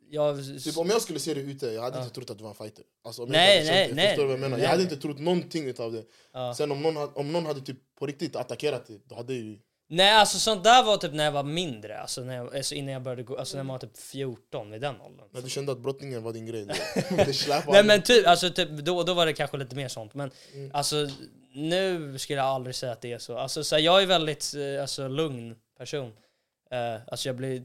S3: jag...
S5: Typ, om jag skulle se dig ute, jag hade inte trott att du var en fighter. Alltså, om
S3: Ah. Nej,
S5: jag inte hade
S3: nej,
S5: känt dig,
S3: nej.
S5: Förstår du vad jag menar?
S3: Nej. Ah.
S5: Jag hade inte trott någonting utav det.
S3: Ja.
S5: Sen om någon, hade- om någon hade typ på riktigt attackerat dig, då hade ju...
S3: Nej alltså sånt där var typ när jag var mindre, alltså, när jag, alltså innan jag började gå, alltså när man var typ 14 vid den åldern.
S5: När du kände att brottningen var din grej. då- det släpade
S3: Nej men typ, alltså typ, då, då var det kanske lite mer sånt men
S5: Mm.
S3: alltså nu skulle jag aldrig säga att det är så. Alltså så här, jag är väldigt eh, alltså, lugn person. Eh, alltså jag blir,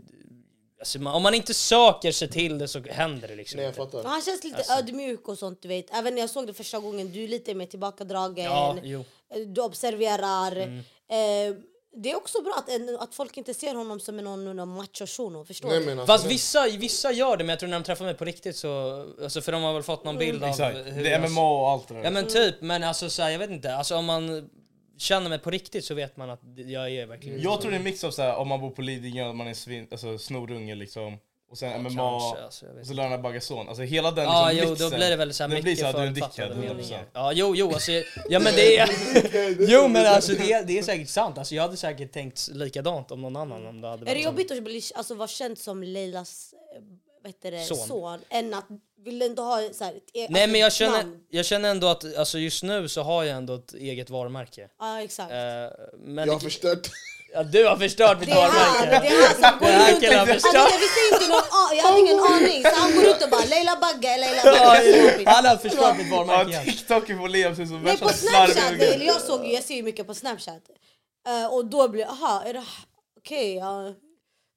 S3: alltså, man, om man inte söker sig till det så händer det liksom
S5: Nej, jag
S3: inte.
S6: Men
S5: fattar.
S6: Han känns
S3: Alltså.
S6: lite ödmjuk och sånt du vet. Även när jag såg det första gången, du är lite mer tillbakadragen. Eh,
S3: Ja, jo. Mm.
S6: Du observerar. Eh, det är också bra att, en- att folk inte ser honom som en någon, någon macho-shuno, förstår
S5: Nej,
S6: du?
S5: men alltså,
S3: Fast
S5: det-
S3: vissa, vissa gör det men jag tror när de träffar mig på riktigt så, alltså, för de har väl fått någon bild av
S4: Exakt.
S3: hur
S4: Det är
S3: jag-
S4: MMA och allt det
S3: Ja
S4: där.
S3: men typ, men alltså så här, jag vet inte, alltså om man känner mig på riktigt så vet man att jag är verkligen
S4: Jag tror det är en mix av så här, om man bor på Lidingö och man är svin, alltså, snorunge liksom. Och sen MMA.
S3: kanske, alltså, jag vet
S4: och så Lörna Baggason. Alltså hela den
S3: Ja,
S4: liksom,
S3: jo, då
S4: mixen.
S3: blir det väl så här
S4: Det blir
S3: mycket
S4: så här, du är en
S3: förutfattade
S4: dickhead.
S3: meningar.
S4: 100%.
S3: Ja, jo, jo, alltså, ja men det är... Jo men alltså det är, det är säkert sant, alltså jag hade säkert tänkt likadant om någon annan om det hade
S6: Är det
S3: så.
S6: jobbigt att bli, alltså, vara känd som Leilas eh, vad heter det,
S3: Son.
S6: son. Än att, vill du inte ha så här, ett e-
S3: Nej
S6: alltså,
S3: men jag
S6: ett
S3: känner,
S6: namn?
S3: jag känner ändå att, alltså just nu så har jag ändå ett eget varumärke.
S6: Ja exakt.
S3: Eh, men
S5: Jag har förstört.
S3: ja, du har förstört mitt
S6: Det är han, det
S3: varumärke!
S6: är han som går
S3: Den här
S6: runt
S3: killen
S6: och...
S3: har
S6: Alltså,
S3: förstört-
S6: jag visste inte någon, a- jag hade ingen aning så han går ut och bara Leila Bagge, Leila
S3: Ja,
S6: Bagge.
S3: Han har förstört mitt varumärke
S4: Ja,
S3: igen.
S4: TikToken får leva sig som
S6: Nej
S4: värsta
S6: på Snapchat,
S4: slarvungen.
S6: eller jag såg ju, jag ser ju mycket på Snapchat. Eh, och då blir aha, är det, okej ja.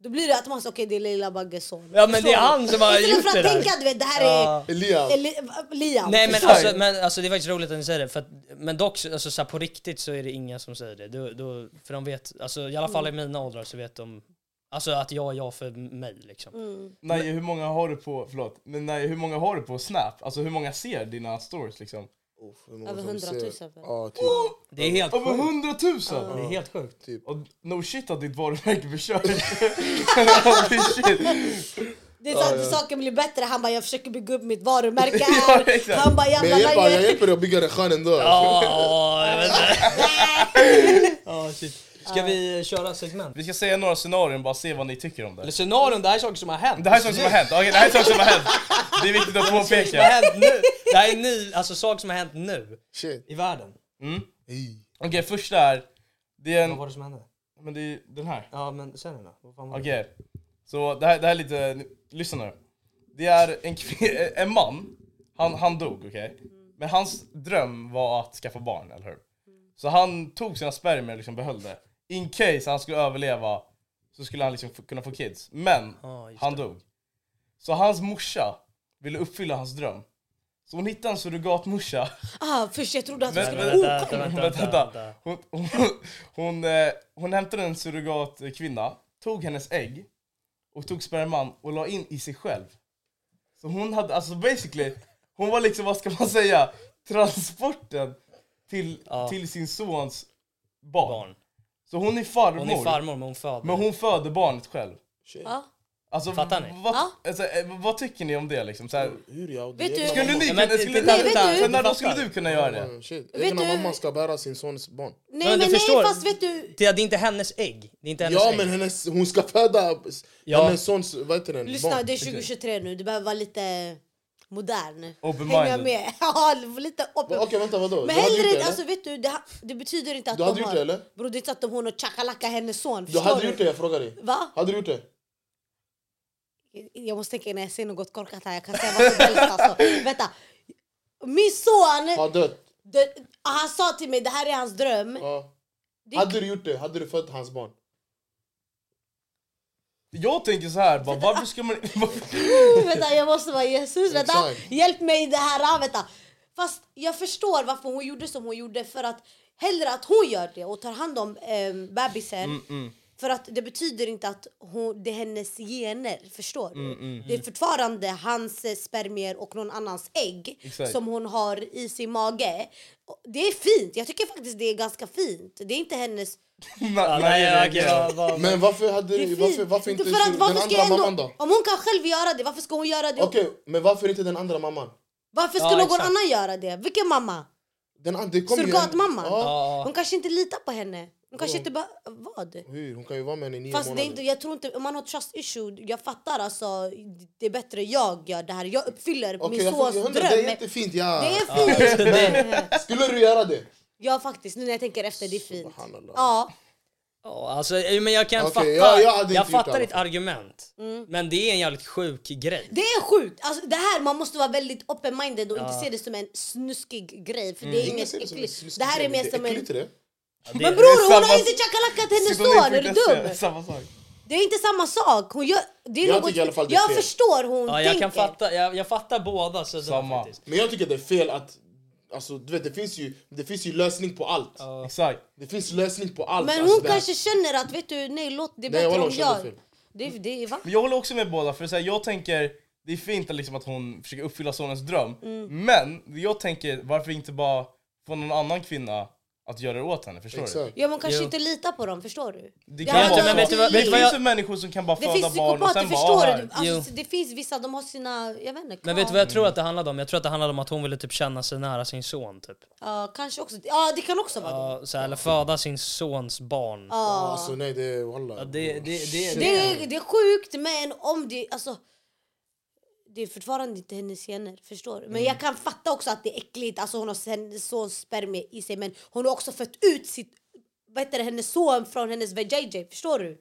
S6: Då blir det att man säger okej det är Leila Bagges son.
S3: Ja, men det är han som har
S6: Istället
S3: gjort
S6: för
S3: det
S6: att
S3: där.
S6: tänka du vet det här är
S5: Elias.
S6: Eli, Liam.
S3: Nej men
S6: Förstår
S3: alltså,
S6: du?
S3: men alltså det är faktiskt roligt att ni säger det, för att, men dock så- alltså, så här, på riktigt så är det ingen som säger det. Då, då, för de vet, alltså, i alla fall i mina åldrar så vet de alltså, att jag är jag för mig liksom.
S4: Nej, hur många har du på, förlåt, men nej, hur många har du på Snap? Alltså hur många ser dina stories liksom?
S5: Oh, hur många
S6: Över
S5: som
S6: 100 000
S5: ser-
S6: väl?
S5: Ja, typ.
S3: Det är helt
S4: Över
S3: sjukt.
S4: hundratusen!
S3: Det är helt sjukt.
S4: Och no shit att ditt varumärke försörjs. Holy shit.
S6: Det är så att saker blir bättre, han bara jag försöker bygga upp mitt varumärke
S4: Ja,
S6: här.
S4: exakt.
S6: han bara
S5: Men
S6: jävla
S5: jag hjälper, jag
S6: löjet.
S5: hjälper dig att bygga dig skön ändå.
S3: Ja, jag vet inte.
S7: Ja, shit.
S3: Ska vi köra segment?
S4: Vi ska säga några scenarion bara se vad ni tycker om
S7: Eller
S4: det.
S7: scenarion, det här är saker som har hänt.
S4: Det här är saker som har hänt, okej det här är saker som har hänt. Det är viktigt att
S7: Det har
S4: påpeka.
S7: hänt nu. Det här är ny, alltså saker som har hänt nu
S5: Shit.
S7: i världen.
S5: Ey.
S4: Okej första är, det är
S7: Vad
S4: en,
S7: var det som hände?
S4: men det är den här.
S7: Ja, men sen då? Vad fan var det?
S4: Okej, så det här, det här är lite, lyssna nu. Det är en, kvin- en man, han, han dog okej? Men hans dröm var att skaffa barn, eller hur? Så han tog sina spermier och liksom behöll det. In case han skulle överleva så skulle han liksom få, kunna få kids. Men
S3: Ja, just
S4: han dog. Så hans morsa ville uppfylla hans dröm. Så hon hittade en surrogatmorsa.
S6: Ah, först jag trodde att du
S4: Men-
S6: skulle...
S4: men-
S6: Oh,
S3: Vänta, vänta,
S4: Vänta,
S3: vänta.
S4: vänta. Hon, hon, hon, eh, hon hämtade en surrogatkvinna, tog hennes ägg och tog sperman och la in i sig själv. Så hon hade, alltså basically, hon var liksom, vad ska man säga, transporten till, till sin sons barn.
S3: Barn.
S4: Så hon är farmor,
S3: Hon är farmor men hon föder.
S4: men hon föder barnet själv.
S6: Oh, ja.
S4: Alltså,
S3: Fattar ni?
S4: Vad,
S6: Ja.
S4: alltså, eh, vad tycker ni om det liksom? Så här,
S5: Hur jag?
S6: Vet du-
S4: skulle ni
S3: Ja, men
S4: kunna,
S3: det-
S4: skulle
S3: det- det-
S4: ni,
S3: det- det-
S4: Svennar,
S3: det-
S4: då skulle du kunna göra det?
S5: Shit.
S6: Vet
S5: Egna
S6: du-
S5: mamman ska bära sin sons barn.
S6: Nej
S3: Men du
S6: men,
S3: förstår-
S6: nej fast vet du,
S3: Det det är inte hennes ägg. Det är inte hennes
S5: Ja
S3: ägg.
S5: men hennes, hon ska föda
S3: Ja.
S5: hennes sons, vad heter den?
S6: lyssna
S5: barn.
S6: det är 2023 nu, du behöver vara lite modern.
S4: Open-minded.
S6: Hänga med. Ja, lite open.
S5: Okej vänta vadå?
S6: Men
S5: Du hade gjort
S6: hellre,
S5: det,
S6: alltså
S5: eller?
S6: vet du, det, ha- det betyder inte att
S5: Du
S6: de
S5: hade gjort
S6: har...
S5: det, eller?
S6: Bror det är inte att de har något chakalaka hennes son,
S5: Du
S6: förstår
S5: hade gjort det jag frågar dig.
S6: Va?
S5: Hade du gjort det?
S6: Jag måste tänka innan jag säger något korkat här, jag kan säga vad som helst alltså. Vänta. Min son,
S5: Har dött?
S6: det, han sa till mig det här är hans dröm.
S5: Ja.
S6: Det-
S5: Hade du gjort det? Hade du fött hans barn?
S4: Jag tänker så här, bara, varför ska man...
S6: vänta jag måste vara Jesus, vänta.
S5: Exakt.
S6: Hjälp mig i det här, ah, vänta. Fast jag förstår varför hon gjorde som hon gjorde för att hellre att hon gör det och tar hand om eh, bebisen.
S5: Mm,
S6: För att det betyder inte att hon, det är hennes gener, förstår
S5: Mm,
S6: du? Det är fortfarande hans eh, spermier och någon annans ägg
S4: Exakt.
S6: som hon har i sin mage. Och Det är fint, jag tycker faktiskt det är ganska fint. Det är inte hennes...
S4: Na-
S3: Nej,
S4: nej,
S3: okej, vad- vad-
S5: Men varför hade
S6: Det är
S5: du,
S6: fint.
S5: varför, varför inte
S6: för att,
S5: den
S6: varför ska
S5: andra
S6: jag ändå,
S5: mamman då?
S6: Om hon kan själv göra det, varför ska hon göra det?
S5: Okej, men varför inte den andra mamman?
S6: Varför ska
S7: Ja,
S6: någon
S7: exakt.
S6: annan göra det? Vilken mamma?
S5: Den, an- det kom ju en-
S6: Surrogatmamman?
S5: Ja.
S6: Hon kanske inte litar på henne. Hon kanske inte bara... Vad?
S5: Hur? Hon kan ju vara med henne i nio
S6: Fast det
S5: månader.
S6: är inte, jag tror inte, om man har trust issue, jag fattar alltså, det är bättre jag gör det här. Jag uppfyller
S5: Okej,
S6: min
S5: jag får-
S6: sons
S5: jag
S6: dröm.
S5: undrar, Det är jättefint. Ja.
S6: Det är
S3: Alltså,
S6: fint!
S5: Skulle du göra det?
S6: Ja faktiskt, nu när jag tänker efter, det är fint.
S5: Subhanallah.
S6: Ja,
S3: Ja, alltså, eh, men jag kan
S5: Okej,
S3: fatta,
S5: jag- jag hade inte gjort
S3: fattar
S5: det
S3: ditt argument.
S6: Mm.
S3: Men det är en jävligt sjuk grej.
S6: det är sjukt! Alltså, det här, man måste vara väldigt open-minded och inte se det som en snuskig grej. För det är
S5: Mm. Ingen
S6: inget
S5: ser det som en
S6: äckligt.
S5: snuskig
S6: Det här är
S5: grej,
S6: mer
S5: det
S6: som en...
S5: äckligt, är det?
S6: Men bror, hon
S4: samma-
S6: har inte tjackalackat hennes son! Är du
S4: Psykonik.se,
S6: dum?
S4: Samma sak.
S6: Det är inte samma sak. Hon gör, det är
S5: Jag
S6: något,
S5: tycker i alla fall det är
S6: jag
S5: fel.
S6: förstår hon
S3: Ja,
S6: tänker.
S3: jag, kan fatta, jag, jag fattar båda. Så
S4: Samma.
S3: Samma. Faktiskt.
S5: Men jag tycker det är fel att... Alltså, du vet, det finns ju, det finns ju lösning på allt.
S4: Exakt.
S5: Det finns lösning på allt.
S6: Men
S5: alltså,
S6: hon
S5: det-
S6: kanske känner att vet du, nej låt det är
S5: Nej,
S6: bättre
S5: wallah,
S6: om
S5: hon känner
S6: jag.
S5: fel.
S6: Det, det, va?
S4: Men jag håller också med båda, för så här, jag tänker det är fint att liksom att hon försöker uppfylla sonens dröm.
S6: Mm.
S4: Men jag tänker, varför inte bara få någon annan kvinna att göra det åt henne? Förstår
S5: Exakt.
S6: Ja, man kanske
S3: Jo.
S6: inte litar på dem, förstår du?
S4: du? Det,
S6: Ja,
S4: kan
S6: men
S4: vara
S6: vet
S4: så.
S6: du vad-
S4: det
S6: vet du vad
S4: finns
S3: jag-
S4: ju människor som kan bara
S6: Det
S4: föda
S6: finns
S4: barn och
S6: psykopater,
S4: sen bara ah,
S6: förstår du?
S4: här.
S3: Jo.
S6: Alltså, det finns vissa, de har sina, jag vet inte,
S3: Men vet du
S5: Mm.
S3: vad jag tror att det handlade om? Jag tror att det handlade om att hon ville typ känna sig nära sin son. Typ.
S6: Ja, kanske också. Ja, det kan också vara det.
S3: Ja, så här, eller föda sin sons barn.
S6: Ja.
S5: Alltså nej, det är wallah.
S3: Ja, det, det, det, det.
S6: Det, är- det är sjukt, men om det, alltså. Det är fortfarande inte hennes gener, förstår du?
S5: Mm.
S6: Men jag kan fatta också att det är äckligt, alltså hon har hennes sons spermier i sig men hon har också fött ut sitt, vad heter det, hennes son från hennes vajayjay, förstår du?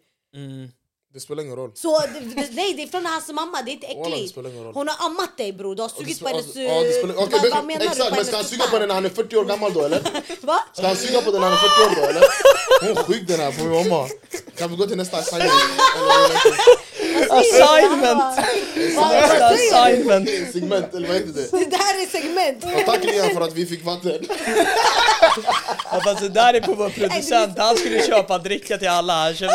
S5: Det spelar ingen roll.
S6: Så det, det, nej, det är från hans mamma, det är inte
S5: Wallah, det
S6: äckligt.
S5: spelar ingen roll.
S6: Hon har ammat dig bror, du har
S5: Ja, det
S6: sugit på
S5: spelar-
S6: hennes...
S5: Alltså, ja, det spelar-
S6: eh,
S5: okej,
S6: vad, vad menar du
S5: Exakt,
S6: på
S5: men ska han
S6: hennes
S5: suga på
S6: sperm?
S5: den när han är 40 år gammal då eller?
S6: Va?
S5: Ska han suga på den när han är 40 år då eller? Hon är sjuk den här, får vi mamma. Kan vi gå till nästa assignment?
S3: Alltså,
S7: Assignment!
S6: Vad- vad
S7: Nästa
S6: säger du?
S7: assignment!
S5: Eller segment, eller vad heter det?
S6: Det här är segment!
S5: Ja, tack Lian för att vi fick vatten.
S7: Ja,
S3: Alltså,
S7: fast det där är på vår producent, han skulle köpa dricka till alla, han köpte,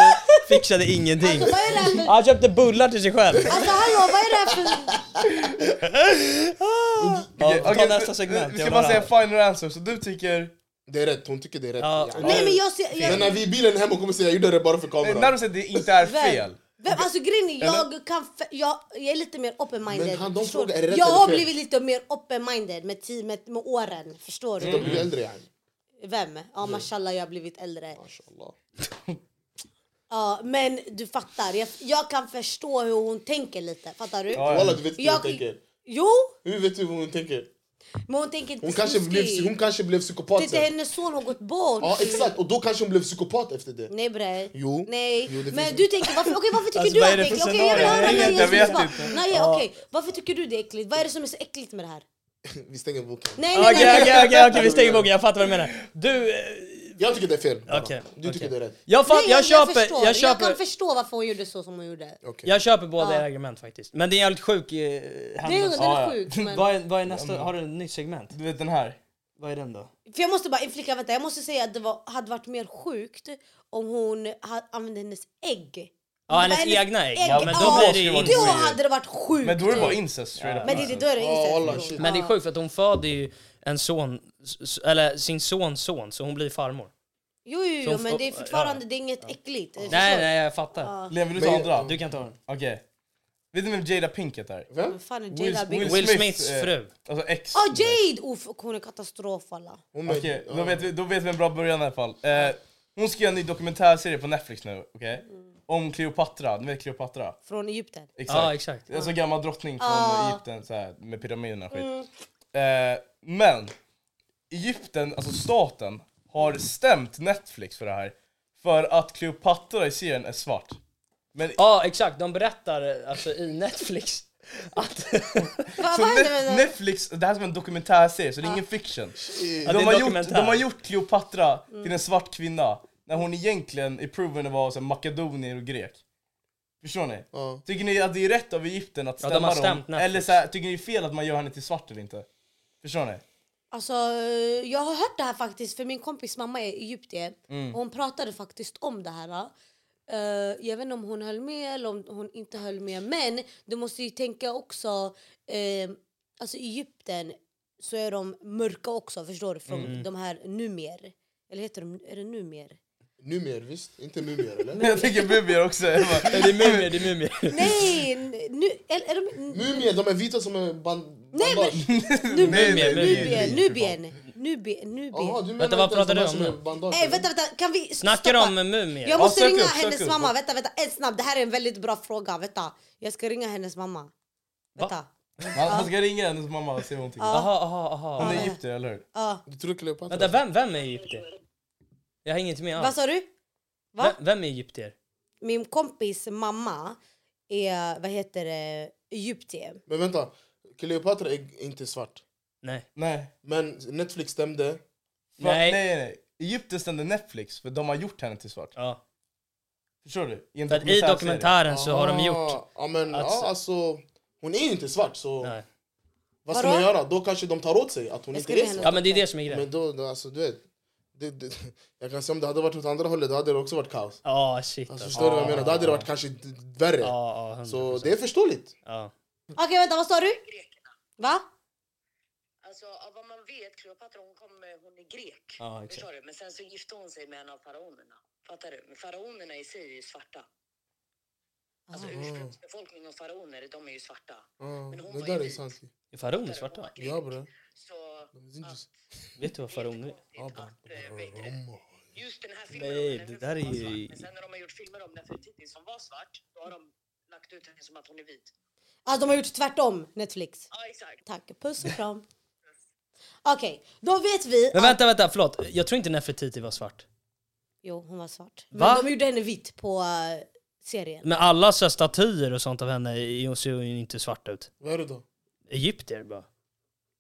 S7: fixade ingenting.
S6: Alltså vad är det här för...
S7: Han köpte bullar till sig själv.
S6: Alltså hallå, vad är det här för...
S7: Ja,
S4: Okej,
S7: ta
S4: okej,
S7: nästa segment. jag
S4: Vi ska
S7: vill
S4: bara
S7: höra.
S4: säga final answer, så du tycker...
S5: Det är rätt, hon tycker det är rätt.
S7: Ja.
S5: Ja.
S6: Nej men jag ser...
S5: Men
S6: Jag,
S5: när vi är i bilen hem hon kommer säga jag gjorde det bara för
S4: Eh, När
S5: kameran.
S4: du säger att det inte är fel.
S6: vem, vem, alltså grejen är, jag kan... f- Jag, jag är lite mer open-minded.
S5: Men han, de
S6: förstår
S5: frågar,
S6: du?
S5: är det rätt
S6: jag
S5: eller
S6: har
S5: fel?
S6: blivit lite mer open-minded med teamet, med åren. Förstår du?
S5: De blir äldre yani.
S6: Vem? Ja mashallah, jag har blivit äldre.
S5: Mm. Mashallah.
S6: Ja, men du fattar. Jag, jag kan förstå hur hon tänker lite. Fattar du?
S5: Walla du vet inte hur hon
S6: Jag-
S5: tänker.
S6: Jo,
S5: Hur vet du hur hon tänker?
S6: men hon tänker inte
S5: Hon kanske
S6: snuskig.
S5: blev, hon kanske blev
S6: Det är
S5: psykopat
S6: inte
S5: sen.
S6: hennes son har gått bort.
S5: Ja exakt, och då kanske hon blev psykopat efter det.
S6: Nej bre.
S5: Jo.
S6: Nej.
S5: Jo, det finns
S6: men
S5: ju.
S6: du tänker, varför, okej, varför tycker
S7: Alltså,
S6: du
S7: vad
S6: att
S7: är
S6: det
S7: det för
S6: är äckligt? Okej jag vill
S7: scenario?
S6: höra
S4: Jag vet- jag
S6: Najas
S4: vet
S6: svar.
S4: inte.
S6: Nej okej, varför tycker du det är äckligt? Vad är det som är så äckligt med det här?
S5: Vi stänger boken.
S6: Nej nej nej.
S7: Okej, okej, okej, okej, vi stänger boken, jag fattar vad du menar. Du, eh,
S5: Jag tycker det är fel. bara.
S7: Okej,
S5: du tycker
S7: okej.
S5: det är rätt.
S7: jag,
S6: nej
S7: fatt, jag, köper,
S6: förstår.
S7: jag, köper,
S6: kan
S7: jag,
S6: förstå varför hon gjorde så som hon gjorde.
S5: Okej.
S7: köper båda
S6: Ja.
S7: era argument faktiskt. Men det är en jävligt sjuk eh,
S6: Det är, den
S7: händelse.
S6: är
S4: ja.
S6: sjuk. Men...
S7: Vad är, vad är nästa, har du ett nytt segment?
S4: Du vet den här.
S7: Vad är den då?
S6: För jag måste bara inflika, vänta, jag måste säga att det var, hade varit mer sjukt om hon ha- använde hennes ägg.
S7: Ja,
S6: Men
S7: hennes egna ägg. Ja, men då
S6: ja,
S7: blir det ju
S6: Då
S7: inte-
S6: hade det varit sjukt.
S4: Men då är det bara incest straight up.
S6: Men det, det, då är det
S5: Ja,
S6: incest,
S5: wallah,
S6: bror.
S5: shit.
S6: Ja.
S3: Men det är sjukt för att hon föder ju en son, s- s- eller sin sons son, så hon blir farmor.
S6: Jo, jo, jo
S3: Som-
S6: men det är fortfarande det är inget äckligt. eh,
S3: Nej,
S6: förstår du?
S3: nej, jag fattar.
S4: Lever du
S5: Men-
S4: till andra?
S7: Du kan ta den.
S4: Okej. Vet ni vem Jada Pinkett är?
S5: Vem?
S6: Vad Fan, är
S4: Will-
S6: Jada Big...
S3: Will
S4: Smith,
S3: Smiths
S4: eh,
S3: fru.
S4: Alltså ex.
S6: Ah, Jade! Uff, hon är katastrof alla.
S5: Hon är-
S4: Okej,
S5: ja.
S4: då, vet vi, då vet vi en bra början i alla fall. Eh, hon ska göra en ny dokumentärserie på Netflix nu, okej?
S6: Mm.
S4: Om Cleopatra, ni vet Cleopatra?
S6: Från Egypten.
S4: Exakt.
S3: Ja, exakt.
S4: Alltså gammal drottning från
S6: Ah. Mm.
S4: Egypten så här, med pyramiderna och skit. Eh, men Egypten, alltså staten, har stämt Netflix för det här. För att Cleopatra i serien är svart. Men
S3: Ja, exakt. De berättar eh, alltså i Netflix att...
S6: Va,
S4: så
S6: vad hände
S4: Net-
S6: med Ah. det?
S4: Netflix, det här är som en dokumentärserie så det är ingen fiction.
S3: Ja, det
S4: De
S3: är
S4: har, gjort,
S3: dokumentär.
S4: de har gjort Cleopatra till en svart kvinna när hon egentligen är proven att vara så här makedonier och grek. Förstår ni?
S5: Ja.
S4: Tycker ni att det är rätt av Egypten att
S3: Ja,
S4: stämma
S3: de har stämt
S4: dem?
S3: Netflix.
S4: Eller så här, tycker ni det är fel att man gör henne till svart eller inte? Förstår ni?
S6: Alltså, jag har hört det här faktiskt för min kompis mamma är egyptier och hon pratade faktiskt om det här. ja. Eh, jag vet inte om hon höll med eller om hon inte höll med men du måste ju tänka också, eh, alltså i Egypten så är de mörka också förstår du från de här numer. Eller heter de, är det numer?
S5: Numer, visst? Inte mumier, eller?
S4: Jag tänker mumier också. Jag bara,
S3: Eh,
S7: Det är mumier, det är mumier.
S6: Nej! Nu, eller, är de,
S5: Mumier, de är vita som är band...
S6: Nej,
S5: bandage.
S6: nu,
S7: Mumier,
S6: Nubien, Nubien, Nubien,
S5: Jaha,
S6: Nubien.
S5: du
S3: Vänta,
S5: menar
S3: vad
S5: inte ens
S3: pratar
S5: de
S3: du
S5: här
S3: om
S5: som
S3: nu?
S5: är bandage?
S6: Ey, vänta, vänta, kan vi
S3: Snackar
S6: stoppa?
S3: de med mumier?
S6: Jag måste
S4: Ja, sök
S6: ringa
S4: upp, sök
S6: hennes
S4: upp.
S6: mamma. Vänta, vänta, en snabb. Det här är en väldigt bra fråga. Vänta. Jag ska ringa hennes mamma. Vänta.
S4: Man, man ska ringa hennes mamma och se vad hon tycker.
S3: Aha, aha, aha.
S4: Hon är egyptier, eller hur?
S5: Du tror Kleopatra?
S3: Vänta, vem, vem är egyptier? Jag hänger inte med
S6: Vad
S3: alls.
S6: sa du? Va?
S3: Vem, vem är egyptier?
S6: Min kompis mamma är, vad heter det,
S3: Mm.
S6: egyptier.
S5: Men vänta, Kleopatra är inte svart.
S3: Nej.
S4: Nej.
S5: Men Netflix stämde.
S4: Va?
S3: Nej.
S4: Nej. nej, nej. Egypten stämde Netflix för de har gjort henne till svart.
S3: Ja.
S4: Förstår du? en
S3: För att i
S4: dokumentärserie.
S3: dokumentären så har de gjort...
S5: Ah, Ja, men
S3: Alltså-
S5: ja, alltså... Hon är ju inte svart, så
S3: Nej.
S5: vad ska
S6: Vadå?
S5: man göra? Då kanske de tar åt sig att hon
S6: Jag
S5: inte
S6: skulle
S5: är svart.
S6: hellre-
S3: Ja men det är det som är grejen.
S5: Men då, då, alltså du vet. Det, det, jag kan säga om det hade varit åt andra hållet, då hade det också varit kaos.
S3: Ja shit
S5: Alltså,
S3: alltså.
S5: förstår du vad jag menar? Då hade det varit kanske d- värre.
S3: Ja, ja,
S5: så
S3: 100%.
S5: det är förståeligt.
S3: Ja.
S6: Okej, vänta, vad sa du? Va?
S8: Alltså av vad man vet, Kleopatra hon, kom, eh, hon är grek.
S3: Ja, exakt.
S8: Förstår du? Men sen så gifte hon sig med en av faraonerna. Fattar du? Men faraonerna i sig är ju svarta. Alltså ursprungsbefolkningen och faraoner, de är ju svarta.
S5: Ah,
S8: hon
S5: det
S8: var
S5: där är
S8: egyptisk.
S5: sant.
S3: Är faraoner svarta?
S5: Ja bre.
S8: Så
S5: De är inte så-
S3: Vet du vad faraoner är?
S8: ja, att, eh, vet du det? just den här filmen
S3: Nej,
S8: om henne,
S3: det
S8: för
S3: där
S8: fan
S3: är ju-
S8: var svart. Men sen när de har gjort filmer om Nefertiti som var svart, då har de lagt ut henne som att hon är vit.
S6: Alltså de har gjort tvärtom, Netflix.
S8: Ja, exakt.
S6: Tack, puss och kram. Okej, då vet vi
S3: Men
S6: att...
S3: vänta, vänta, förlåt. Jag tror inte Nefertiti var svart.
S6: Jo, hon var svart. Men
S3: Va?
S6: de gjorde henne vit på eh, serien.
S3: Men alla så här statyer och sånt av henne är- ser ju inte svarta ut.
S5: Vad är det då?
S3: Egyptier bara.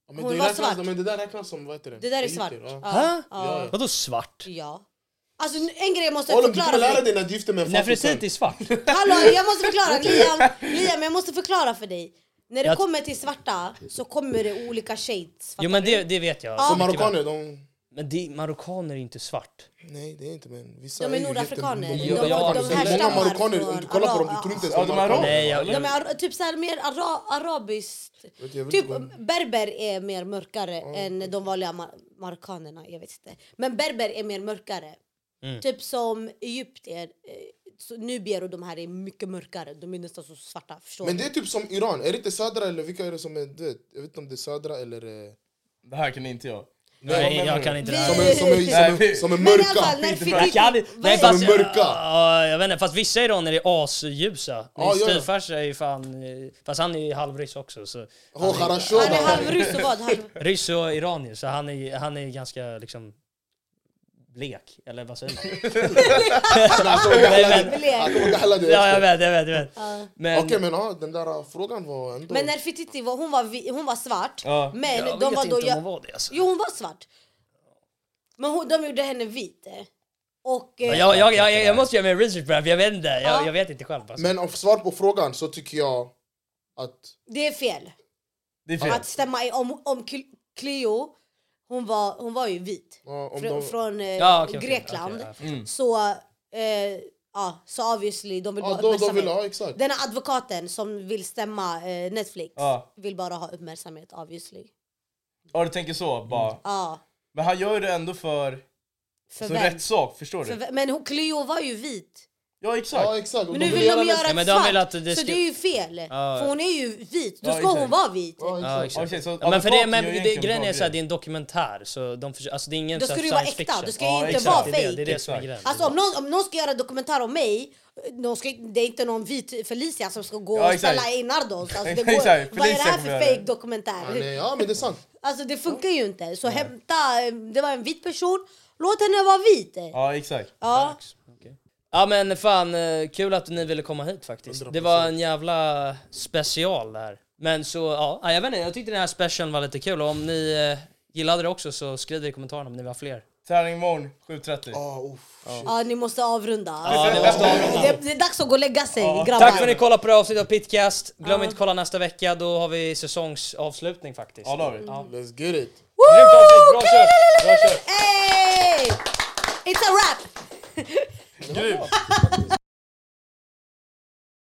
S5: Ja, men,
S6: Hon
S5: det
S6: var
S5: räknas,
S6: svart.
S5: men det där räknas som, vad heter det?
S6: Det där är
S5: Egyptier,
S6: svart.
S5: ja.
S6: Ja.
S5: Ja,
S6: ja.
S5: ja.
S3: Vadå svart?
S6: ja. Alltså nu- en grej jag måste
S5: Ollon, du kommer
S6: förklara
S5: lära
S6: för dig.
S5: dig när du gifter med en fattig sen.
S3: Nefertiti är svart.
S6: Hallå, jag måste förklara. Liam, Liam, jag måste förklara för dig. När det
S3: Jag-
S6: kommer till svarta så kommer det olika shades.
S3: Jo men det, det vet jag.
S5: Så
S3: mycket väl.
S5: marockaner, de...
S3: Men det, marockaner är inte svart.
S5: Nej det är inte men vissa
S6: De är
S5: ju
S6: nordafrikaner.
S5: jätte-
S6: De,
S3: Jo,
S6: de,
S3: ja,
S6: de,
S3: absolut.
S5: Många
S6: härstammar
S5: marockaner,
S6: från
S5: om du kollar på dem,
S6: Arab-
S5: du tror inte ens
S4: Ja,
S5: de
S4: de
S5: är
S4: är
S5: marockaner.
S3: Nej, jag,
S6: De är ar- typ så här mer ara, arabiskt.
S5: Vet jag, jag
S6: Typ
S5: vet inte.
S6: berber är mer mörkare än de vanliga mar- marockanerna. Jag vet inte. Men berber är mer mörkare.
S3: Mm.
S6: Typ som egyptier, eh, så nubier och de här är mycket mörkare. De är nästan så svarta. Förstår
S5: Men
S6: du?
S5: det är typ som Iran, är det inte södra eller vilka är det som är, du vet, jag vet inte om det är södra eller... eh,
S4: Det här kan inte jag.
S3: nej, jag kan inte det här.
S5: Som är, som är, som är,
S4: Nej,
S5: som är
S6: Men i alla fall,
S5: mörka!
S6: när
S3: Jag kan inte-
S6: Fidel-
S3: Nej,
S6: vad-
S5: fast- Som är mörka.
S3: Ja, jag vet inte, fast vissa iranier är asljusa. Min
S5: Ja, ja, ja.
S3: styvfarsa är ju fan... eh, Fast han är ju halvryss också. Så
S5: Åh,
S6: Han är
S5: Kharashova!
S6: halvryss och vad? Halv...
S3: Ryss och iranier, så han är, han är ganska liksom blek, eller vad säger man? Nej, men,
S6: Blek.
S3: ja, jag vet, jag vet, jag vet. Men,
S5: Okej men ja, den där ah, frågan var ändå...
S6: Men Nefertiti var, hon var, vi- hon var svart.
S4: Ja.
S6: Men
S3: jag
S6: de
S3: vet
S6: var
S3: inte
S6: då...
S3: om
S6: Jag,
S3: hon var det alltså.
S6: Jo, hon var svart. Men hon, de gjorde henne vit. eh. Och... eh,
S3: jag, jag, jag, jag, jag måste göra mer research på det här, för jag vet inte. Jag,
S6: Ja.
S3: jag vet inte själv alltså.
S5: Men av svar på frågan så tycker jag att...
S6: Det är fel.
S4: Det är fel.
S6: Att stämma i om, om Cl- Cleo, hon var, hon var ju vit.
S5: ja, om
S6: Frå,
S5: de,
S6: Från eh,
S3: Ja, okej, okej,
S6: Grekland. Mm.
S3: okej, ja, jag
S6: Så, eh, ja, så obviously, de vill
S5: ja,
S6: bara
S5: då, då vill,
S6: uppmärksamhet.
S5: ja, exakt.
S6: Den här advokaten som vill stämma eh, Netflix
S4: Ja.
S6: vill bara ha uppmärksamhet obviously.
S4: Ja, du tänker så
S3: Mm.
S4: bara.
S6: Ja,
S4: Men han gör det ändå för,
S6: för
S4: för
S6: vem?
S4: rätt sak, förstår
S6: För
S4: du?
S6: vem? Men hon, Cleo var ju vit.
S4: Ja, exakt.
S5: Ja, exakt.
S6: Men nu
S5: De
S6: vill de göra
S3: Ja, men
S6: ett
S3: de
S6: svart,
S3: vill att det
S6: så
S3: ska-
S6: det är ju fel. För hon är ju vit, då
S4: Ja,
S6: ska
S4: exakt.
S6: hon vara vit.
S5: Ja, exakt.
S3: Ja, exakt.
S4: Okej, så
S3: ja, men för det,
S4: advokaten
S3: men
S4: gör
S3: det,
S4: egentligen
S3: grejen
S4: bra
S3: är såhär, det är
S4: grejer.
S3: en dokumentär, så de försöker, alltså det är ingen
S6: Då
S3: så här
S6: ska du ju vara
S3: science
S6: äkta,
S3: fiction.
S6: du ska ju
S4: Ja,
S6: inte
S4: exakt.
S6: vara
S3: det,
S6: fake.
S3: är det, det är det som är
S4: Exakt.
S3: grejen.
S6: Alltså om någon, om någon ska göra en dokumentär om mig, någon ska, det är inte någon vit Felicia som ska gå
S4: Ja,
S6: och
S4: exakt.
S6: ställa Einardos. Alltså, det
S4: Exakt,
S6: går, vad är det
S4: Felicia
S6: här
S4: kommer
S6: för
S4: göra det.
S6: fake dokumentär?
S5: Ja, nej, ja men det är sant.
S6: Alltså det funkar ju inte. Så hämta, eh, det var en vit person, låt henne vara vit.
S4: Ja, exakt.
S6: Ja.
S3: Okej. Ja men fan, eh, kul att ni ville komma hit faktiskt. Det var en jävla special där. Men så, ja, ja, jag vet inte, jag tyckte den här specialen var lite kul och om ni eh, gillade det också så skriv det i kommentarerna om ni var fler.
S4: Träning imorgon 7.30.
S5: Ah, uff, shit.
S6: Ja, ni måste avrunda.
S3: Ja, det var stadigt.
S6: Det, det är dags att gå och lägga sig grabbar.
S3: Tack för att ni kollade på det här avsnittet av Pitcast. Glöm inte att kolla nästa vecka, då har vi säsongsavslutning faktiskt.
S4: Ja, det har
S6: Mm.
S4: vi.
S5: Let's get it.
S3: Grymt avsnitt, bra kört! Bra kört!
S6: Hey! It's a wrap!